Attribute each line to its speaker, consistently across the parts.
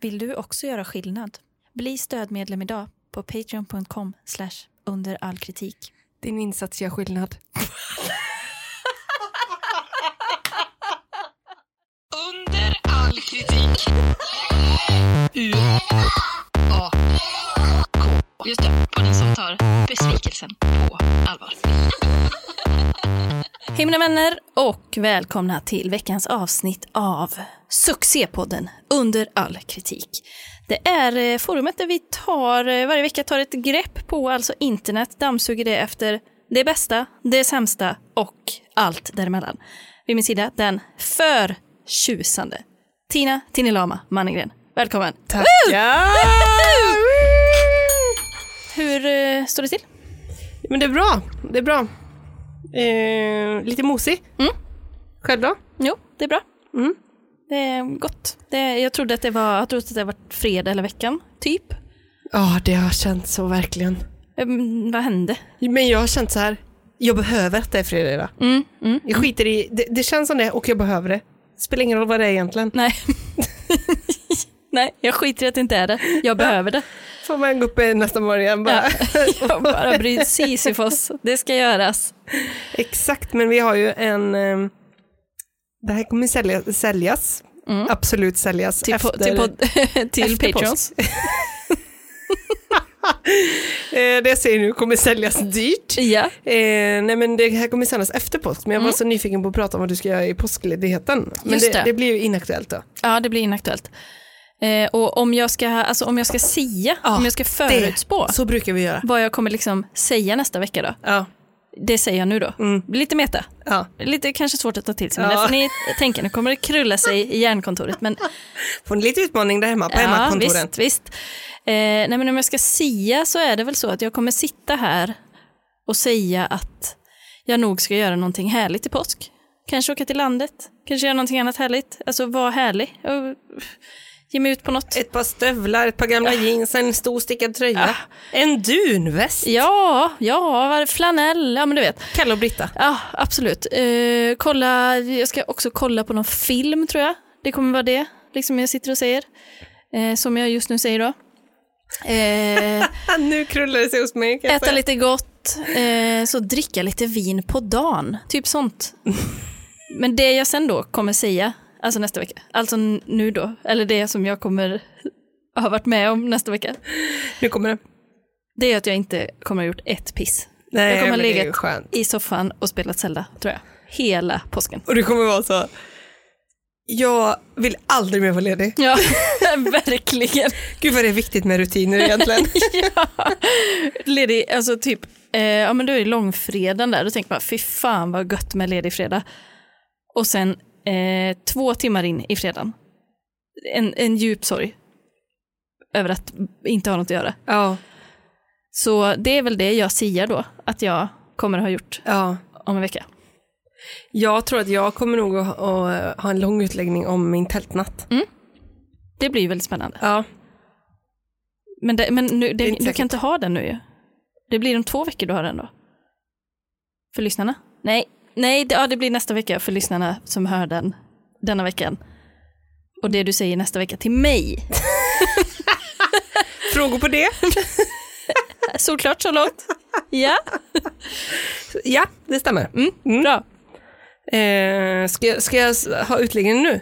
Speaker 1: Vill du också göra skillnad? Bli stödmedlem idag på patreon.com under all kritik.
Speaker 2: Din insats gör skillnad.
Speaker 3: Under all kritik. U A K. Just det, på den som tar besvikelsen på allvar.
Speaker 1: Hej mina vänner och välkomna till veckans avsnitt av succépodden Under all kritik. Det är eh, forumet där vi tar, eh, varje vecka tar ett grepp på alltså internet, dammsuger det efter det bästa, det sämsta och allt däremellan. Vid min sida den för tjusande Tina Tinilama Mannegren. Välkommen!
Speaker 2: Tackar!
Speaker 1: Hur eh, står det till?
Speaker 2: Men det är bra. Det är bra. Eh, lite mosig.
Speaker 1: Mm.
Speaker 2: Själv då?
Speaker 1: Jo, det är bra.
Speaker 2: Mm.
Speaker 1: Det är gott. Det, jag trodde att det var, jag trodde att det var fredag eller veckan, typ.
Speaker 2: Ja, det har känts så verkligen.
Speaker 1: Mm, vad hände?
Speaker 2: Men jag har känt så här. Jag behöver att det är fredag idag.
Speaker 1: Mm, mm.
Speaker 2: Jag skiter i, det, det känns som det och jag behöver det. Spelar ingen roll vad det är egentligen.
Speaker 1: Nej. Nej, jag skiter i att det inte är det. Jag behöver det.
Speaker 2: Får man gå upp eh, nästa morgon bara.
Speaker 1: Jag bara bryr Sisyfos. Det ska göras.
Speaker 2: Exakt, men vi har ju en... eh, Det här kommer sälja, säljas.
Speaker 1: Mm.
Speaker 2: Absolut säljas.
Speaker 1: Till, po- till, pod- till
Speaker 2: efter
Speaker 1: Patreons.
Speaker 2: Eh, det jag säger nu kommer säljas dyrt.
Speaker 1: Ja.
Speaker 2: Eh, nej men det här kommer sändas efter påsk, men jag var
Speaker 1: Mm.
Speaker 2: så nyfiken på att prata om vad du ska göra i påskledigheten. Men
Speaker 1: Just
Speaker 2: det.
Speaker 1: det.
Speaker 2: Det, blir ju inaktuellt då.
Speaker 1: ja, det blir inaktuellt. Eh, och om jag ska, alltså, om jag ska sia,
Speaker 2: Ja,
Speaker 1: om jag ska förutspå
Speaker 2: Så brukar vi göra.
Speaker 1: vad jag kommer liksom säga nästa vecka då.
Speaker 2: Ja.
Speaker 1: Det säger jag nu då.
Speaker 2: Mm.
Speaker 1: Lite meta.
Speaker 2: ja.
Speaker 1: Lite kanske svårt att ta till sig, men
Speaker 2: Ja.
Speaker 1: det får ni tänka. Nu kommer det krulla sig i hjärnkontoret. Men
Speaker 2: Får ni lite utmaning där hemma på hemmakontoren?
Speaker 1: visst, visst. Eh, nej, men om jag ska sia så är det väl så att jag kommer sitta här och säga att jag nog ska göra någonting härligt i påsk. Kanske åka till landet, kanske göra någonting annat härligt. Alltså vara härlig och ge mig ut på något.
Speaker 2: Ett par stövlar, ett par gamla jeans, en stor stickad tröja. En dunväst.
Speaker 1: Ja, ja, vad är det? flanell, ja men du vet.
Speaker 2: Kalle och Britta.
Speaker 1: Ja, absolut. Eh, kolla, jag ska också kolla på någon film tror jag. Det kommer vara det, liksom jag sitter och säger. Eh, som jag just nu säger då. Eh,
Speaker 2: Ah, nu krullar det sig hos mig. kan jag
Speaker 1: Äta
Speaker 2: säga.
Speaker 1: lite gott, eh, så dricka lite vin på dagen. Typ sånt. Men det jag sen då kommer säga, alltså nästa vecka, alltså n- nu då, eller det som jag kommer ha varit med om nästa vecka,
Speaker 2: Nu kommer det.
Speaker 1: det är att jag inte kommer ha gjort ett piss.
Speaker 2: Nej,
Speaker 1: jag kommer ha
Speaker 2: men det är ju
Speaker 1: legat
Speaker 2: skönt.
Speaker 1: i soffan och spelat Zelda, tror jag. Hela påsken.
Speaker 2: Och du kommer vara så. Jag vill aldrig mer vara ledig.
Speaker 1: Ja, verkligen.
Speaker 2: Gud vad det är viktigt med rutiner egentligen.
Speaker 1: ja. Ledig, alltså typ, eh, ja men då är det långfredagen där, då tänker man fy fan vad gött med ledig fredag. Och sen eh, två timmar in i fredagen, en, en djup sorg över att inte ha något att göra.
Speaker 2: ja,
Speaker 1: Så det är väl det jag säger då, att jag kommer ha gjort
Speaker 2: ja.
Speaker 1: om en vecka.
Speaker 2: Jag tror att jag kommer nog att, att ha en lång utläggning om min tältnatt.
Speaker 1: Det blir väldigt spännande.
Speaker 2: Ja.
Speaker 1: Men, det, men nu,
Speaker 2: är
Speaker 1: det,
Speaker 2: inte
Speaker 1: du
Speaker 2: säkert.
Speaker 1: kan inte ha den nu ju. Det blir om två veckor du har den då. För lyssnarna? Nej, Nej det, ja, det blir nästa vecka för lyssnarna som hör den denna veckan. Och det du säger nästa vecka till mig.
Speaker 2: Frågor på det?
Speaker 1: Solklart så långt. Ja,
Speaker 2: Ja, det stämmer. Mm.
Speaker 1: bra.
Speaker 2: Eh, ska, jag- ska jag s- ha utläggningen nu?
Speaker 1: Nej,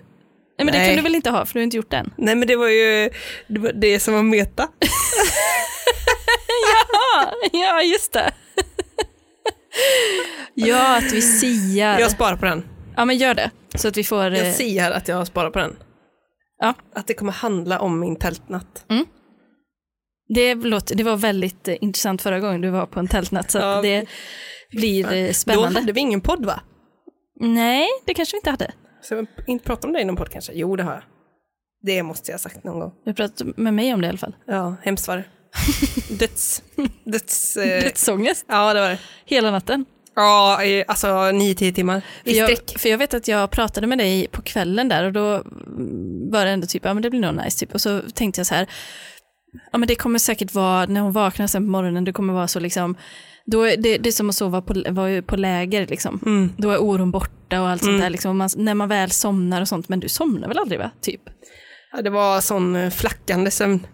Speaker 1: men det
Speaker 2: Nej.
Speaker 1: kan du väl inte ha för du har inte gjort den.
Speaker 2: Nej, men det var ju det, var det som var meta.
Speaker 1: Ja, ja just det. Ja, att vi siar.
Speaker 2: Jag sparar på den.
Speaker 1: Ja, men gör det. Så att vi får... eh,
Speaker 2: Jag säger att jag sparar på den.
Speaker 1: Ja.
Speaker 2: Att det kommer handla om min tältnatt.
Speaker 1: Det, låter, det var väldigt eh, intressant förra gången du var på en tältnatt, så
Speaker 2: Ja.
Speaker 1: att det blir eh,
Speaker 2: Då
Speaker 1: spännande.
Speaker 2: hade vi ingen podd, va?
Speaker 1: Nej, det kanske vi inte hade.
Speaker 2: Så jag inte prata om det i någon podd kanske? Jo, det har jag. Det måste jag ha sagt någon gång.
Speaker 1: Du har pratat med mig om det i alla fall.
Speaker 2: Ja, hemskt var det. Döds... Döds... Eh,
Speaker 1: Dödsångest
Speaker 2: Ja, det var det.
Speaker 1: hela natten.
Speaker 2: Ja, eh, alltså nio, tio timmar
Speaker 1: För
Speaker 2: i
Speaker 1: jag,
Speaker 2: sträck.
Speaker 1: för jag vet att jag pratade med dig på kvällen där och då mm, var det ändå typ, ja men det blir nog nice typ. Och så tänkte jag så här, ja men det kommer säkert vara, när hon vaknar sen på morgonen, det kommer vara så liksom, då är det, det är som att sova på, var på läger liksom.
Speaker 2: Mm.
Speaker 1: Då är oron borta och allt sånt där liksom. Och Man, när man väl somnar och sånt, men du somnar väl aldrig va? Typ.
Speaker 2: Ja, det var sån eh, flackande sömn.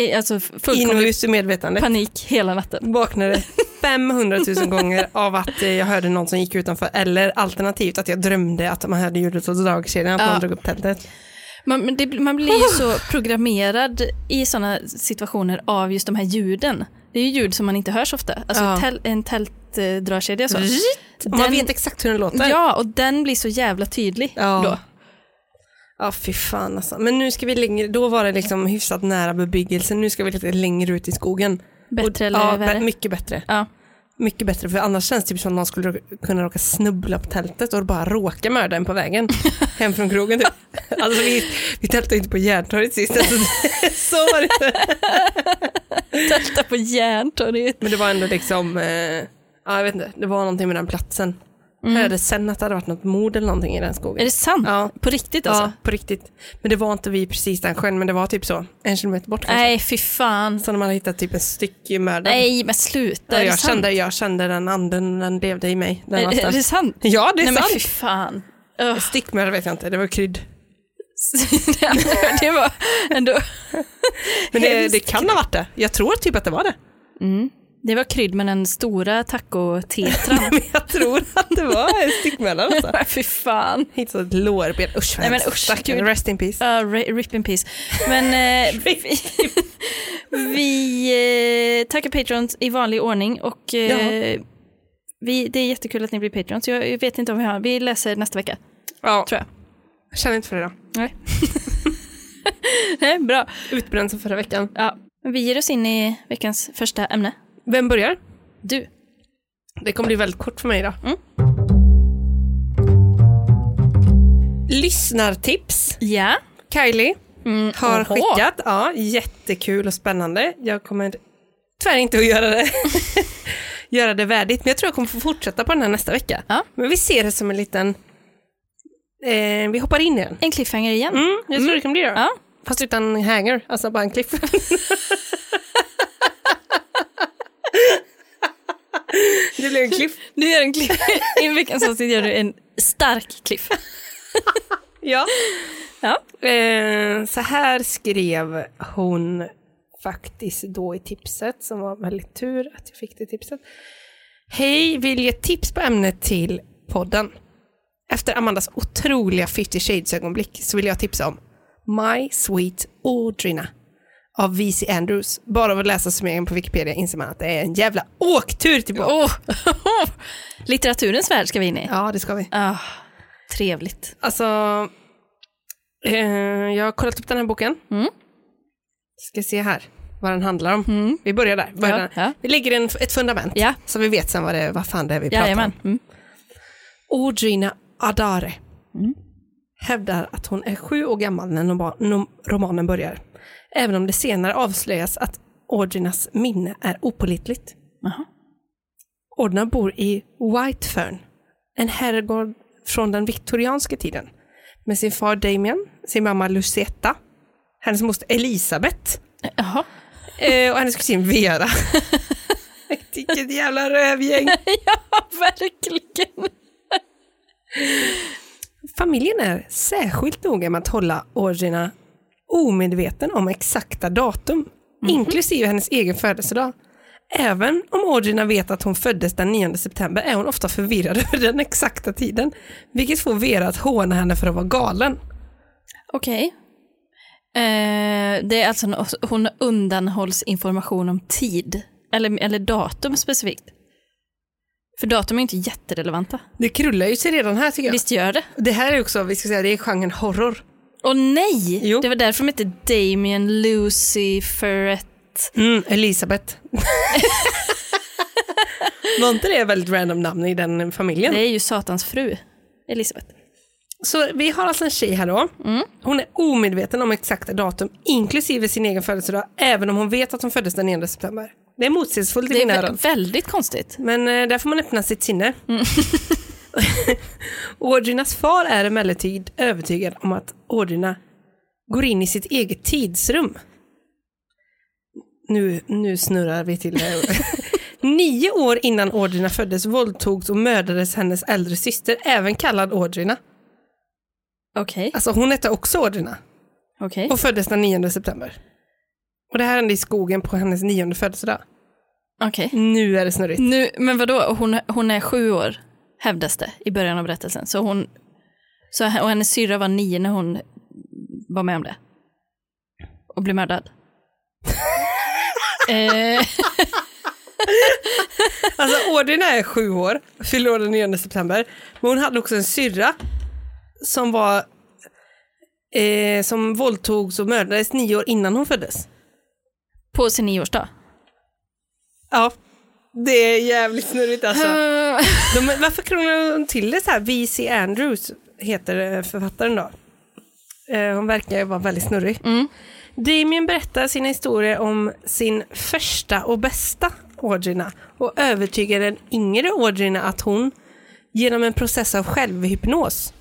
Speaker 1: I- Alltså
Speaker 2: In och
Speaker 1: fullkomlig
Speaker 2: ut ur medvetandet.
Speaker 1: panik hela natten.
Speaker 2: Vaknade 500 000 gånger av att eh, jag hörde någon som gick utanför. Eller alternativt att jag drömde att man hörde ljudet av dragkedjan, att
Speaker 1: Ja.
Speaker 2: någon drog upp tältet.
Speaker 1: Man, men det, man blir ju så programmerad i sådana situationer av just de här ljuden. Det är ju ljud som man inte hör så ofta. Alltså
Speaker 2: Ja.
Speaker 1: täl, en tältdragkedja så.
Speaker 2: Och Man vet exakt hur den låter.
Speaker 1: Ja, och den blir så jävla tydlig
Speaker 2: Ja.
Speaker 1: då.
Speaker 2: Ja, fy fan alltså. Men nu ska vi längre, då var det liksom hyfsat nära bebyggelsen, nu ska vi lite längre ut i skogen.
Speaker 1: Bättre eller
Speaker 2: ja,
Speaker 1: värre?
Speaker 2: bä- Mycket bättre.
Speaker 1: Ja.
Speaker 2: Mycket bättre, för annars känns det typ som att någon skulle råka- kunna råka snubbla på tältet och bara råka mörda en på vägen hem från krogen typ. Alltså vi, vi tältade inte på Järntorget sist, alltså, det- så var det
Speaker 1: Tälta på Järntorget.
Speaker 2: Men det var ändå liksom, eh, ja jag vet inte, det var någonting med den platsen. Hörde sen att det hade varit något mord eller någonting i den skogen.
Speaker 1: Mm. Är det sant?
Speaker 2: Ja.
Speaker 1: På riktigt alltså?
Speaker 2: Ja, på riktigt. Men det var inte vi precis den sjön, men det var typ så, en kilometer bort kanske.
Speaker 1: Nej, fy fan.
Speaker 2: Så när man har hittat typ en styckmördare.
Speaker 1: Nej, men sluta.
Speaker 2: Ja,
Speaker 1: är det
Speaker 2: jag,
Speaker 1: sant?
Speaker 2: kände, jag kände den anden, den levde i mig. Den
Speaker 1: Är, är
Speaker 2: natten.
Speaker 1: det sant?
Speaker 2: Ja, det är
Speaker 1: Nej, men fy
Speaker 2: sant.
Speaker 1: fan. Ugh.
Speaker 2: Styckmördare vet jag inte, det var krydd.
Speaker 1: det var ändå...
Speaker 2: Men det,
Speaker 1: Hemskt.
Speaker 2: det kan ha varit det. Jag tror typ att det var det.
Speaker 1: Det var krydd med den stora tacotetran.
Speaker 2: Men jag tror att det var en styckmördare alltså.
Speaker 1: fy fan.
Speaker 2: Hittade ett lårben, usch vad
Speaker 1: Nej, men
Speaker 2: hemskt.
Speaker 1: usch,
Speaker 2: Stackarn.
Speaker 1: gud.
Speaker 2: Rest in peace.
Speaker 1: Ja, ri- Ah, rip in peace. Men eh, vi, vi eh, tackar Patrons i vanlig ordning och eh, vi, det är jättekul att ni blir Patrons. Jag jag vet inte om vi har, vi läser nästa vecka.
Speaker 2: Ja,
Speaker 1: tror jag.
Speaker 2: jag känner inte för det då.
Speaker 1: Nej. Nej, bra.
Speaker 2: Utbränd som förra veckan.
Speaker 1: Ja. Vi ger oss in i veckans första ämne.
Speaker 2: Vem börjar?
Speaker 1: Du.
Speaker 2: Det kommer bli väldigt kort för mig idag.
Speaker 1: Mm.
Speaker 2: Lyssnartips.
Speaker 1: Ja.
Speaker 2: Kylie
Speaker 1: Mm,
Speaker 2: har
Speaker 1: oho.
Speaker 2: skickat. Ja, jättekul och spännande. Jag kommer tyvärr inte att göra det. göra det värdigt, men jag tror jag kommer få fortsätta på den här nästa vecka.
Speaker 1: Ja.
Speaker 2: Men vi ser det som en liten... Eh, vi hoppar in i den.
Speaker 1: En cliffhanger igen.
Speaker 2: Mm, jag tror det kan bli det.
Speaker 1: Ja.
Speaker 2: Fast utan hanger, alltså bara en kliff. det blev en kliff.
Speaker 1: Du gör en cliff. I veckans avsnitt gör du en stark cliff.
Speaker 2: Ja.
Speaker 1: Ja.
Speaker 2: Eh, så här skrev hon faktiskt då i tipset, som var väldigt tur att jag fick det tipset. Hej, vill ge tips på ämnet till podden. Efter Amandas otroliga 50 Shades-ögonblick så vill jag tipsa om My Sweet Audrina av VC Andrews. Bara av att läsa summeringen på Wikipedia inser man att det är en jävla åktur tillbaka.
Speaker 1: Oh. Litteraturens värld ska vi in i.
Speaker 2: Ja, det ska vi.
Speaker 1: Ah, trevligt.
Speaker 2: Alltså, eh, jag har kollat upp den här boken.
Speaker 1: Mm.
Speaker 2: Ska se här vad den handlar om. Vi börjar där. Börjar
Speaker 1: Ja,
Speaker 2: där.
Speaker 1: ja.
Speaker 2: Vi lägger en, ett fundament
Speaker 1: Ja.
Speaker 2: så vi vet sen vad, det, vad fan det är vi pratar om.
Speaker 1: Jajamän. Mm.
Speaker 2: Audrina Adare hävdar att hon är sju år gammal när noma- nom- romanen börjar. Även om det senare avslöjas att Audrinas minne är opålitligt.
Speaker 1: Jaha.
Speaker 2: Audrina bor i Whitefern, en herrgård från den viktorianska tiden. Med sin far Damien, sin mamma Lucetta, hennes moster Elisabeth
Speaker 1: Jaha.
Speaker 2: eh, och hennes kusin Vera. Vilket jävla rövgäng!
Speaker 1: Ja, verkligen.
Speaker 2: Familjen är särskilt noga med att hålla Audrina omedveten om exakta datum, inklusive hennes egen födelsedag. Även om Audrina vet att hon föddes den 9 september är hon ofta förvirrad över den exakta tiden, vilket får Vera att håna henne för att vara galen.
Speaker 1: Okej. Eh, det är alltså, nå- hon undanhålls information om tid. Eller, eller datum specifikt. För datum är inte jätterelevanta.
Speaker 2: Det krullar ju sig redan här tycker jag.
Speaker 1: Visst gör det?
Speaker 2: Det här är också, vi ska säga, det är genren horror.
Speaker 1: Åh nej!
Speaker 2: Jo.
Speaker 1: Det var därför de hette Damien, Lucy, Ferret.
Speaker 2: Mm, Elisabeth. Var inte det väldigt random namn i den familjen?
Speaker 1: Det är ju Satans fru, Elisabeth.
Speaker 2: Så vi har alltså en tjej här då.
Speaker 1: Mm.
Speaker 2: Hon är omedveten om exakta datum, inklusive sin egen födelsedag, även om hon vet att hon föddes den 9 september. Det är motsägelsefullt i
Speaker 1: Det är
Speaker 2: mina
Speaker 1: vä-
Speaker 2: öron.
Speaker 1: väldigt konstigt.
Speaker 2: Men eh, där får man öppna sitt sinne.
Speaker 1: Mm.
Speaker 2: Audrinas far är emellertid övertygad om att Audrina går in i sitt eget tidsrum. Nu, nu snurrar vi till det. Nio år innan Audrina föddes våldtogs och mördades hennes äldre syster, även kallad Audrina.
Speaker 1: Okej.
Speaker 2: Alltså hon hette Alltså, också Audrina.
Speaker 1: Okej.
Speaker 2: och föddes den 9 september. Och det här hände i skogen på hennes nionde födelsedag.
Speaker 1: Okej.
Speaker 2: Nu är det snurrigt.
Speaker 1: Nu, men vadå, hon, hon är sju år, hävdas det i början av berättelsen. Så hon, så, h- och hennes syrra var nio när hon var med om det. Och blev mördad. eh,
Speaker 2: Alltså Audrina är sju år, fyller år den 9 september. Men hon hade också en syrra som var eh, som våldtogs och mördades nio år innan hon föddes.
Speaker 1: på sin nioårsdag.
Speaker 2: Ja, det är jävligt snurrigt alltså.
Speaker 1: Eh,
Speaker 2: De, varför krånglar hon till det så här? V.C. Andrews heter eh, författaren då. Eh, hon verkar ju vara väldigt snurrig.
Speaker 1: Mm.
Speaker 2: Damien berättar sina historier om sin första och bästa Audrina och övertygar den yngre Audrina att hon genom en process av självhypnos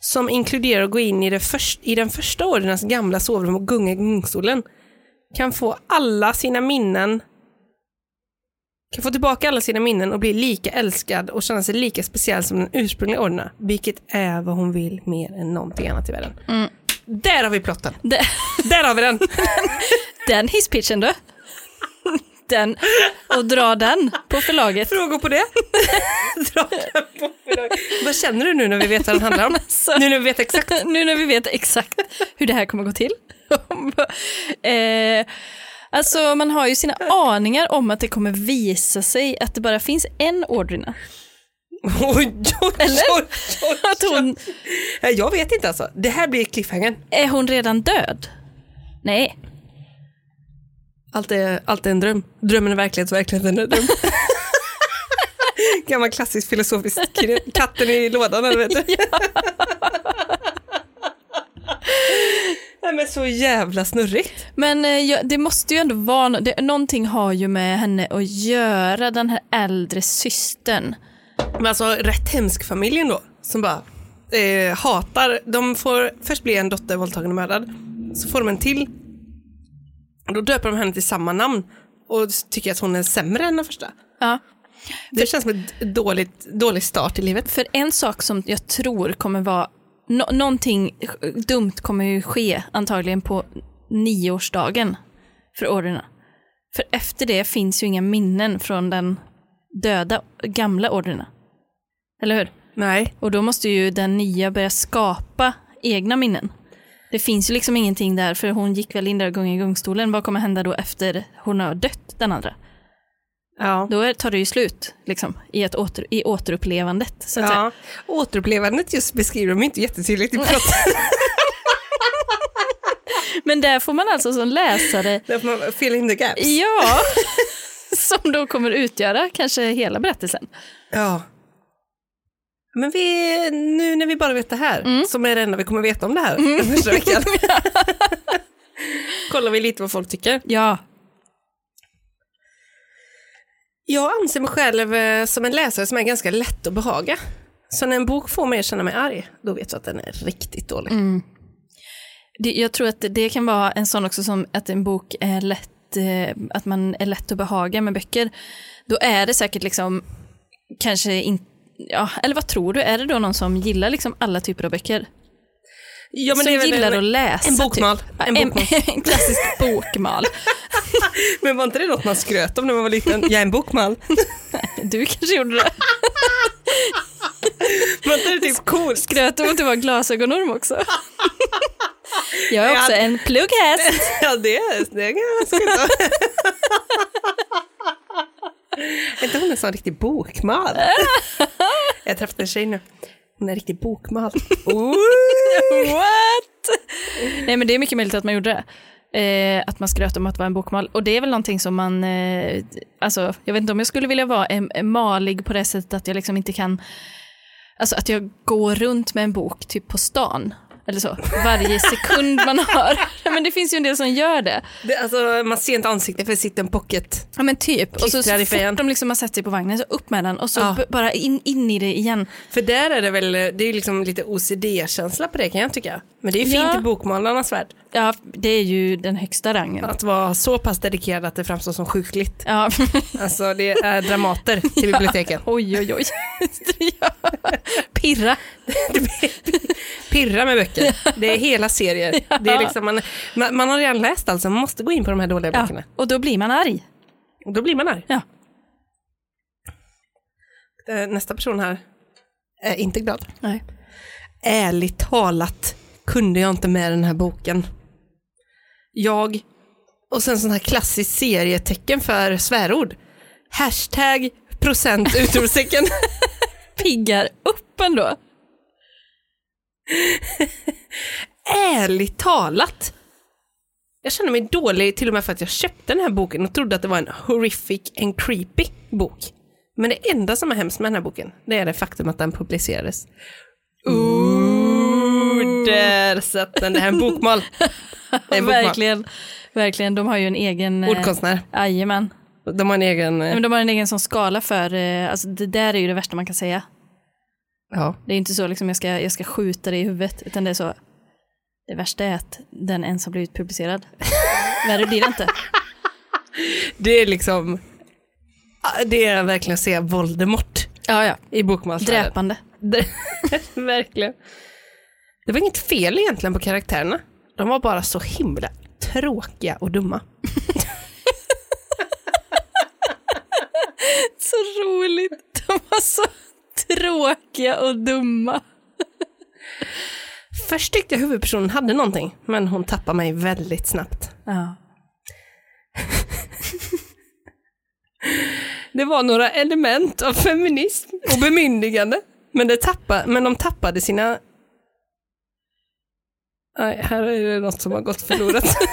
Speaker 2: som inkluderar att gå in i, det först, i den första Audrinas gamla sovrum och gunga i gungstolen kan få alla sina minnen kan få tillbaka alla sina minnen och bli lika älskad och känna sig lika speciell som den ursprungliga Audrina, vilket är vad hon vill mer än någonting annat i världen.
Speaker 1: Mm.
Speaker 2: Där har vi plotten!
Speaker 1: de-
Speaker 2: Där har vi den!
Speaker 1: den hisspitchen du. Den, och dra den på förlaget.
Speaker 2: frågor på det. Draken på förlag. Vad känner du nu när vi vet vad den handlar om?
Speaker 1: Alltså.
Speaker 2: Nu när vi vet exakt.
Speaker 1: nu när vi vet exakt hur det här kommer gå till. eh, alltså man har ju sina aningar om att det kommer visa sig att det bara finns en Audrina.
Speaker 2: Oj, oj, oj,
Speaker 1: Eller?
Speaker 2: oj, oj.
Speaker 1: Att hon,
Speaker 2: Nej, Jag vet inte alltså. Det här blir cliffhangern.
Speaker 1: är hon redan död? Nej.
Speaker 2: Allt är, allt är en dröm. Drömmen är verklighet, verkligheten är en dröm. Gammal klassisk filosofisk kri- katten i lådan, eller vet du? Nej men så jävla snurrigt.
Speaker 1: Men eh, ja, det måste ju ändå vara, nå- det, någonting har ju med henne att göra, den här äldre systern.
Speaker 2: Men alltså rätt hemsk familjen då, som bara eh, hatar. De får först bli en dotter våldtagen och mördad, så får de en till. Och då döper de henne till samma namn och tycker att hon är sämre än den första.
Speaker 1: Ja.
Speaker 2: Det känns som en d- dåligt, dålig start i livet.
Speaker 1: För en sak som jag tror kommer vara, nå- någonting dumt kommer ju ske antagligen på nioårsdagen för Ordina. För efter det finns ju inga minnen från den döda gamla Ordina. Eller hur?
Speaker 2: Nej.
Speaker 1: Och då måste ju den nya börja skapa egna minnen. Det finns ju liksom ingenting där, för hon gick väl in där och gungade i gungstolen. Vad kommer hända då efter hon har dött, den andra?
Speaker 2: Ja.
Speaker 1: Då är- tar det ju slut, liksom, i, ett åter, i återupplevandet, så att säga.
Speaker 2: ja. Återupplevandet just beskriver de inte jättetydligt i plotten.
Speaker 1: Men där får man alltså som läsare,
Speaker 2: Där får man fill in the gaps.
Speaker 1: ja, som då kommer utgöra kanske hela berättelsen.
Speaker 2: Ja. Men vi, nu när vi bara vet det här,
Speaker 1: Mm.
Speaker 2: som är det enda vi kommer veta om det här den första veckan. Kollar vi lite vad folk tycker.
Speaker 1: Ja,
Speaker 2: Jag anser mig själv eh, som en läsare som är ganska lätt att behaga. Så när en bok får mig att känna mig arg, då vet jag att den är riktigt dålig.
Speaker 1: Mm. det, jag tror att det- det kan vara en sån också som att en bok är lätt, eh, att man är lätt att behaga med böcker. Då är det säkert liksom, kanske inte, ja, eller vad tror du, är det då någon som gillar liksom alla typer av böcker?
Speaker 2: Ja,
Speaker 1: som
Speaker 2: väl
Speaker 1: gillar
Speaker 2: en,
Speaker 1: att läsa?
Speaker 2: en bokmal.
Speaker 1: Typ.
Speaker 2: En
Speaker 1: En,
Speaker 2: bokmal.
Speaker 1: en klassisk bokmal.
Speaker 2: Men var inte det något man skröt om när man var liten? Jag är en bokmal.
Speaker 1: Du kanske gjorde det?
Speaker 2: Var inte det typ coolt?
Speaker 1: Gröt om att du var glasögonorm också. Jag är också en plugghäst.
Speaker 2: Ja, det, det kan jag skriva. Är inte hon en sån riktig bokmal? Jag har träffat en tjej nu. Hon är en riktig bokmal. Ooh.
Speaker 1: What? Nej men det är mycket möjligt att man gjorde det. Eh, att man skröt om att vara en bokmal. Och det är väl någonting som man, eh, alltså jag vet inte om jag skulle vilja vara en, en malig på det sättet att jag liksom inte kan, alltså att jag går runt med en bok typ på stan. Eller så, varje sekund man har. Nej, Men det finns ju en del som gör det.
Speaker 2: Det, alltså, man ser inte ansiktet för det sitter en pocket.
Speaker 1: Ja men typ. Och så,
Speaker 2: Klistrar i
Speaker 1: så fort
Speaker 2: fejan.
Speaker 1: de liksom har satt sig på vagnen så upp med den och så
Speaker 2: Ja.
Speaker 1: b- bara in, in i det igen.
Speaker 2: För där är det väl, det är ju liksom lite OCD-känsla på det kan jag tycka. Men det är ju fint
Speaker 1: Ja.
Speaker 2: i bokmalarnas värld.
Speaker 1: Ja, det är ju den högsta rangen.
Speaker 2: Att vara så pass dedikerad att det framstår som sjukligt.
Speaker 1: Ja.
Speaker 2: Alltså det är dramater till biblioteken.
Speaker 1: Oj, oj, oj. Ja. Pirra.
Speaker 2: Pirra med böcker. böcker. Det är hela serier. Det är liksom man, man, man har redan läst alltså, man måste gå in på de här dåliga
Speaker 1: Ja,
Speaker 2: böckerna.
Speaker 1: och då blir man arg.
Speaker 2: Och då blir man arg.
Speaker 1: Ja.
Speaker 2: Eh, Nästa person här är inte glad.
Speaker 1: Nej.
Speaker 2: Ärligt talat kunde jag inte med den här boken. Jag, och sen sån här klassiskt serietecken för svärord. Hashtag procent utropstecken.
Speaker 1: Piggar upp ändå.
Speaker 2: Ärligt talat. Jag känner mig dålig till och med för att jag köpte den här boken och trodde att det var en horrific and creepy bok. Men det enda som är hemskt med den här boken, det är det faktum att den publicerades. Ooh, där satt den. Det här är en bokmal. Det är en bokmal.
Speaker 1: Verkligen. Verkligen, de har ju en egen... eh,
Speaker 2: Ordkonstnär.
Speaker 1: Jajamän.
Speaker 2: De har en egen... eh,
Speaker 1: Nej, Men de har en egen sån skala för, eh, alltså det där är ju det värsta man kan säga.
Speaker 2: Ja.
Speaker 1: Det är inte så liksom jag ska, jag ska skjuta dig i huvudet, utan det är så, det värsta är att den ens har blivit publicerad. Värre blir det inte.
Speaker 2: Det är liksom... Ah, Det är verkligen att se Voldemort
Speaker 1: Ja, ja.
Speaker 2: i bokmalsvärlden.
Speaker 1: Dräpande.
Speaker 2: Det- Verkligen. Det var inget fel egentligen på karaktärerna. De var bara så himla tråkiga och dumma.
Speaker 1: Så roligt. De var så tråkiga och dumma.
Speaker 2: Först tyckte jag huvudpersonen hade någonting, men hon tappade mig väldigt snabbt.
Speaker 1: Ja.
Speaker 2: Det var några element av feminism och bemyndigande, men, det tappa, men de tappade sina... Nej, här är det något som har gått förlorat.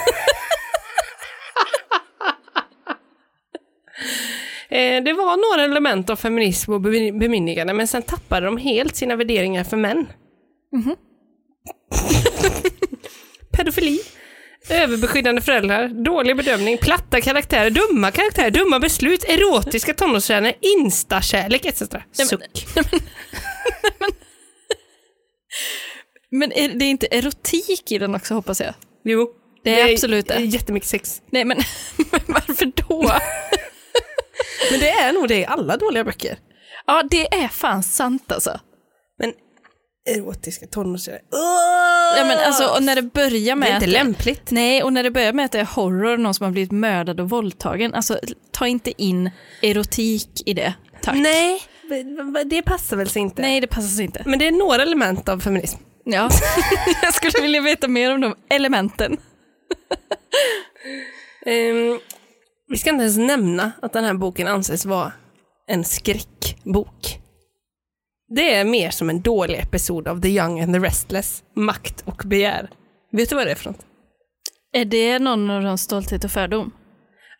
Speaker 2: Eh, Det var några element av feminism och bemy- bemyndigande, men sen tappade de helt sina värderingar för män.
Speaker 1: Mhm.
Speaker 2: Pedofili, överbeskyddande föräldrar, dålig bedömning, platta karaktärer, dumma karaktärer, dumma beslut, erotiska tonårskärnor, instakärlek etc. Suck.
Speaker 1: Men är, det är inte erotik i den också hoppas jag.
Speaker 2: Jo,
Speaker 1: Det är absolut det.
Speaker 2: det. är Jättemycket sex.
Speaker 1: Nej men, men varför då?
Speaker 2: Men det är nog det i alla dåliga böcker.
Speaker 1: Ja det är fan sant alltså.
Speaker 2: Men erotiska tonårskärnor,
Speaker 1: Ja, men alltså och när det börjar med
Speaker 2: det är inte
Speaker 1: att-
Speaker 2: lämpligt.
Speaker 1: Nej, och när det börjar med att det är horror, någon som har blivit mördad och våldtagen, alltså ta inte in erotik i det, tack.
Speaker 2: Nej, det passar väl sig inte.
Speaker 1: Nej, det passar sig inte.
Speaker 2: Men det är några element av feminism.
Speaker 1: Ja. Jag skulle vilja veta mer om de elementen.
Speaker 2: Ehm, vi ska inte ens nämna att den här boken anses vara en skräckbok. Det är mer som en dålig episod av The Young and the Restless, Makt och begär. Vet du vad det är för något?
Speaker 1: Är det någon av de stolthet och fördom?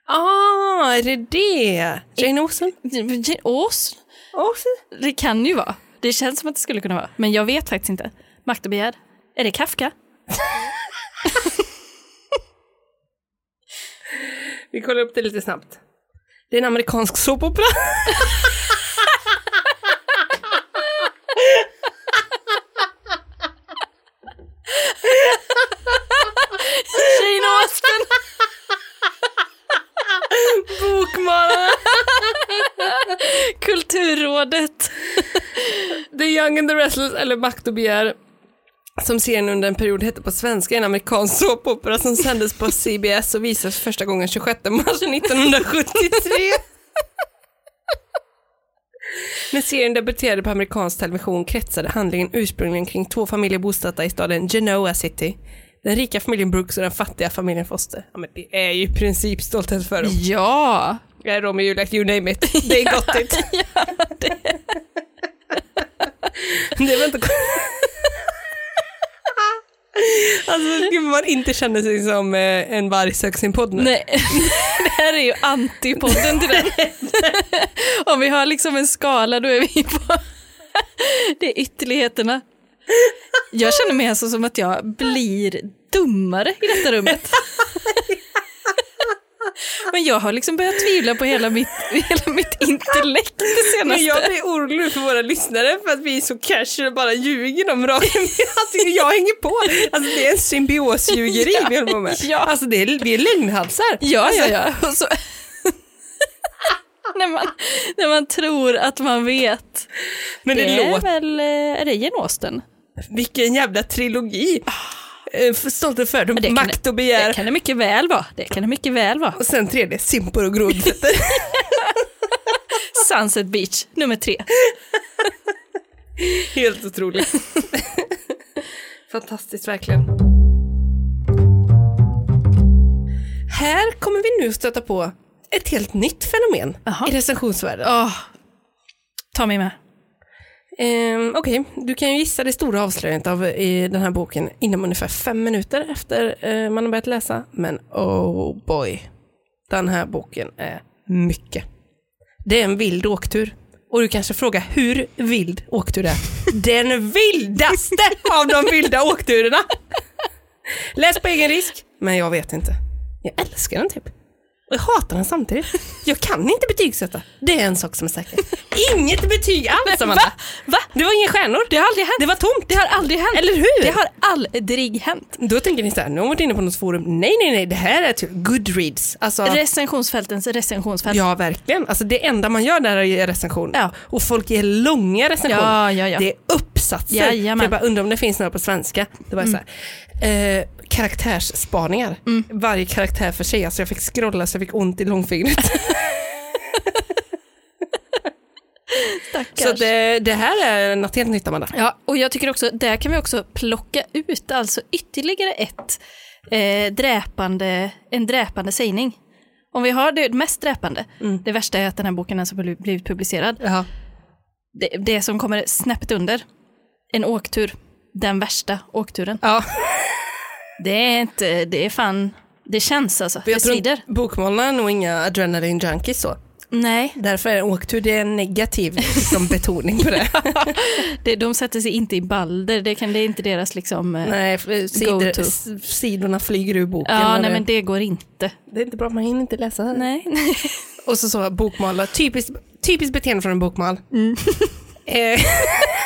Speaker 2: Ah, är det det? Jane Austen?
Speaker 1: Jane Austen?
Speaker 2: Austen?
Speaker 1: Det kan ju vara. Det känns som att det skulle kunna vara, men jag vet faktiskt inte. Makt och begär? Är det Kafka?
Speaker 2: Vi kollar upp det lite snabbt. Det är en amerikansk såpopera.
Speaker 1: Jane Austen!
Speaker 2: Bokmara!
Speaker 1: Kulturrådet!
Speaker 2: The Young and the Restless, eller Makt och begär, som serien under en period hette på svenska, är en amerikansk såpopera som sändes på CBS och visades första gången 26 mars 1973. När serien debuterade på amerikansk television kretsade handlingen ursprungligen kring två familjer bosatta i staden Genoa City. Den rika familjen Brooks och den fattiga familjen Foster. Ja, men det är ju i princip stolthet för dem.
Speaker 1: Ja!
Speaker 2: Jag är Romeo Juliet, you name it. Det är gottigt. det är väl inte Alltså gud, man inte känner sig som eh, en varg sök sin podd nu.
Speaker 1: Nej, det här är ju antipodden till den. Om vi har liksom en skala då är vi på... Det är ytterligheterna. Jag känner mig alltså som att jag blir dummare i detta rummet. Men jag har liksom börjat tvivla på hela mitt, hela mitt intellekt det senaste.
Speaker 2: Men jag blir orolig för våra lyssnare för att vi är så casual och bara ljuger dem rakt in. Alltså, jag hänger på. Alltså det är en symbiosljugeri vi håller på med.
Speaker 1: Ja.
Speaker 2: Alltså det är, vi är lögnhalsar.
Speaker 1: Ja, ja, ja. Och så... när, man, när man tror att man vet.
Speaker 2: Men det,
Speaker 1: Det är
Speaker 2: låter...
Speaker 1: väl, eh, är det Jane Austen?
Speaker 2: Vilken jävla trilogi! Eh, för- Stolthet, fördom,
Speaker 1: Ah. Ja, det kan-
Speaker 2: makt och begär.
Speaker 1: Det kan det mycket väl vara. Det kan det mycket väl vara.
Speaker 2: Och sen tredje, simpor och grodfötter.
Speaker 1: Sunset Beach, nummer tre.
Speaker 2: Helt otroligt. Fantastiskt verkligen. Här kommer vi nu stöta på ett helt nytt fenomen
Speaker 1: Jaha.
Speaker 2: i recensionsvärlden.
Speaker 1: Åh, ta mig med.
Speaker 2: Ehm, Okej, du kan ju gissa det stora avslöjandet av i den här boken inom ungefär fem minuter efter eh, man har börjat läsa. Men oh boy, den här boken är mycket. Det är en vild åktur. Och du kanske frågar hur vild åktur är. Den vildaste av de vilda åkturerna! Läs på egen risk. Men jag vet inte. Jag älskar den typ. Och jag hatar den samtidigt. Jag kan inte betygsätta. Det är en sak som är säker. Inget betyg alls, Amanda.
Speaker 1: Va? Va?
Speaker 2: Det var inga stjärnor.
Speaker 1: Det har aldrig hänt.
Speaker 2: Det var tomt.
Speaker 1: Det har aldrig hänt.
Speaker 2: Eller hur?
Speaker 1: Det har aldrig hänt.
Speaker 2: Då tänker ni så här, nu har hon varit inne på något forum. Nej, nej, nej, det här är till Goodreads. Alltså,
Speaker 1: Recensionsfältens recensionsfält.
Speaker 2: ja, verkligen. Alltså, det enda man gör där är ju recension.
Speaker 1: Ja.
Speaker 2: Och folk ger långa recensioner.
Speaker 1: Ja, ja, ja.
Speaker 2: Det är uppsatser.
Speaker 1: Jajamän.
Speaker 2: För Jag bara undrar om det finns några på svenska. Det var så här, eh, karaktärsspaningar. Varje karaktär för sig. Alltså, jag fick scrolla så jag fick ont i långfingret.
Speaker 1: Stackars.
Speaker 2: så det, det här är något helt nytt, Amanda.
Speaker 1: Ja, och jag tycker också, där kan vi också plocka ut alltså ytterligare ett eh, dräpande, en dräpande sägning. Om vi har det mest dräpande,
Speaker 2: Mm.
Speaker 1: det värsta är att den här boken ens har bli- blivit publicerad.
Speaker 2: Ja.
Speaker 1: Det, det som kommer snäppet under, en åktur, den värsta åkturen.
Speaker 2: ja.
Speaker 1: Det är inte, det är fan, det känns alltså,
Speaker 2: Jag
Speaker 1: det
Speaker 2: tror
Speaker 1: svider.
Speaker 2: inte- bokmålarna är nog inga adrenalin junkies så.
Speaker 1: Nej,
Speaker 2: Därför är åktur det är en negativ liksom, betoning på det.
Speaker 1: det, de sätter sig inte i balder, det, kan, det är inte deras liksom... eh,
Speaker 2: Nej, för sidor,
Speaker 1: to.
Speaker 2: s- sidorna flyger ur boken.
Speaker 1: Ja,
Speaker 2: och
Speaker 1: nej
Speaker 2: det,
Speaker 1: men det går inte.
Speaker 2: det är inte bra, man hinner inte läsa.
Speaker 1: Nej.
Speaker 2: Och så så bokmalar, typiskt typiskt beteende från en bokmal.
Speaker 1: Mm.
Speaker 2: Eh,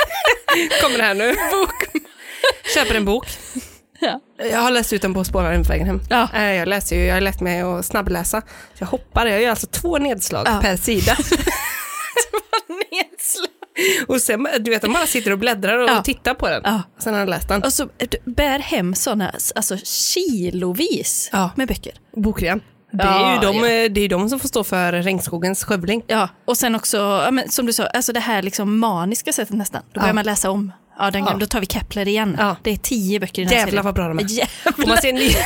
Speaker 2: Kommer det här nu. Bok. Köper en bok.
Speaker 1: Ja.
Speaker 2: Jag har läst ut den på spåraren på vägen hem.
Speaker 1: Ja.
Speaker 2: Eh, Jag läser ju, jag har lärt mig att snabbläsa. Jag hoppar, jag gör alltså två nedslag
Speaker 1: Ja.
Speaker 2: per sida.
Speaker 1: Nedslag.
Speaker 2: Och sen, du vet, de bara sitter och bläddrar och
Speaker 1: Ja.
Speaker 2: tittar på den.
Speaker 1: Ja.
Speaker 2: Sen har de läst den.
Speaker 1: Och så eh, du bär hem sådana, alltså kilovis
Speaker 2: Ja.
Speaker 1: med böcker.
Speaker 2: Bokrean. Det är
Speaker 1: Ja,
Speaker 2: ju de,
Speaker 1: ja.
Speaker 2: eh, det är ju de som får stå för regnskogens skövling.
Speaker 1: Ja, och sen också, ja, men, som du sa, alltså det här liksom maniska sättet nästan. Då börjar man läsa om. Ja, den, Då tar vi Kepler igen.
Speaker 2: Ja.
Speaker 1: Det är tio böcker i den här
Speaker 2: Jävlar
Speaker 1: serien.
Speaker 2: vad bra de är.
Speaker 1: Jävlar.
Speaker 2: Och man ser nya,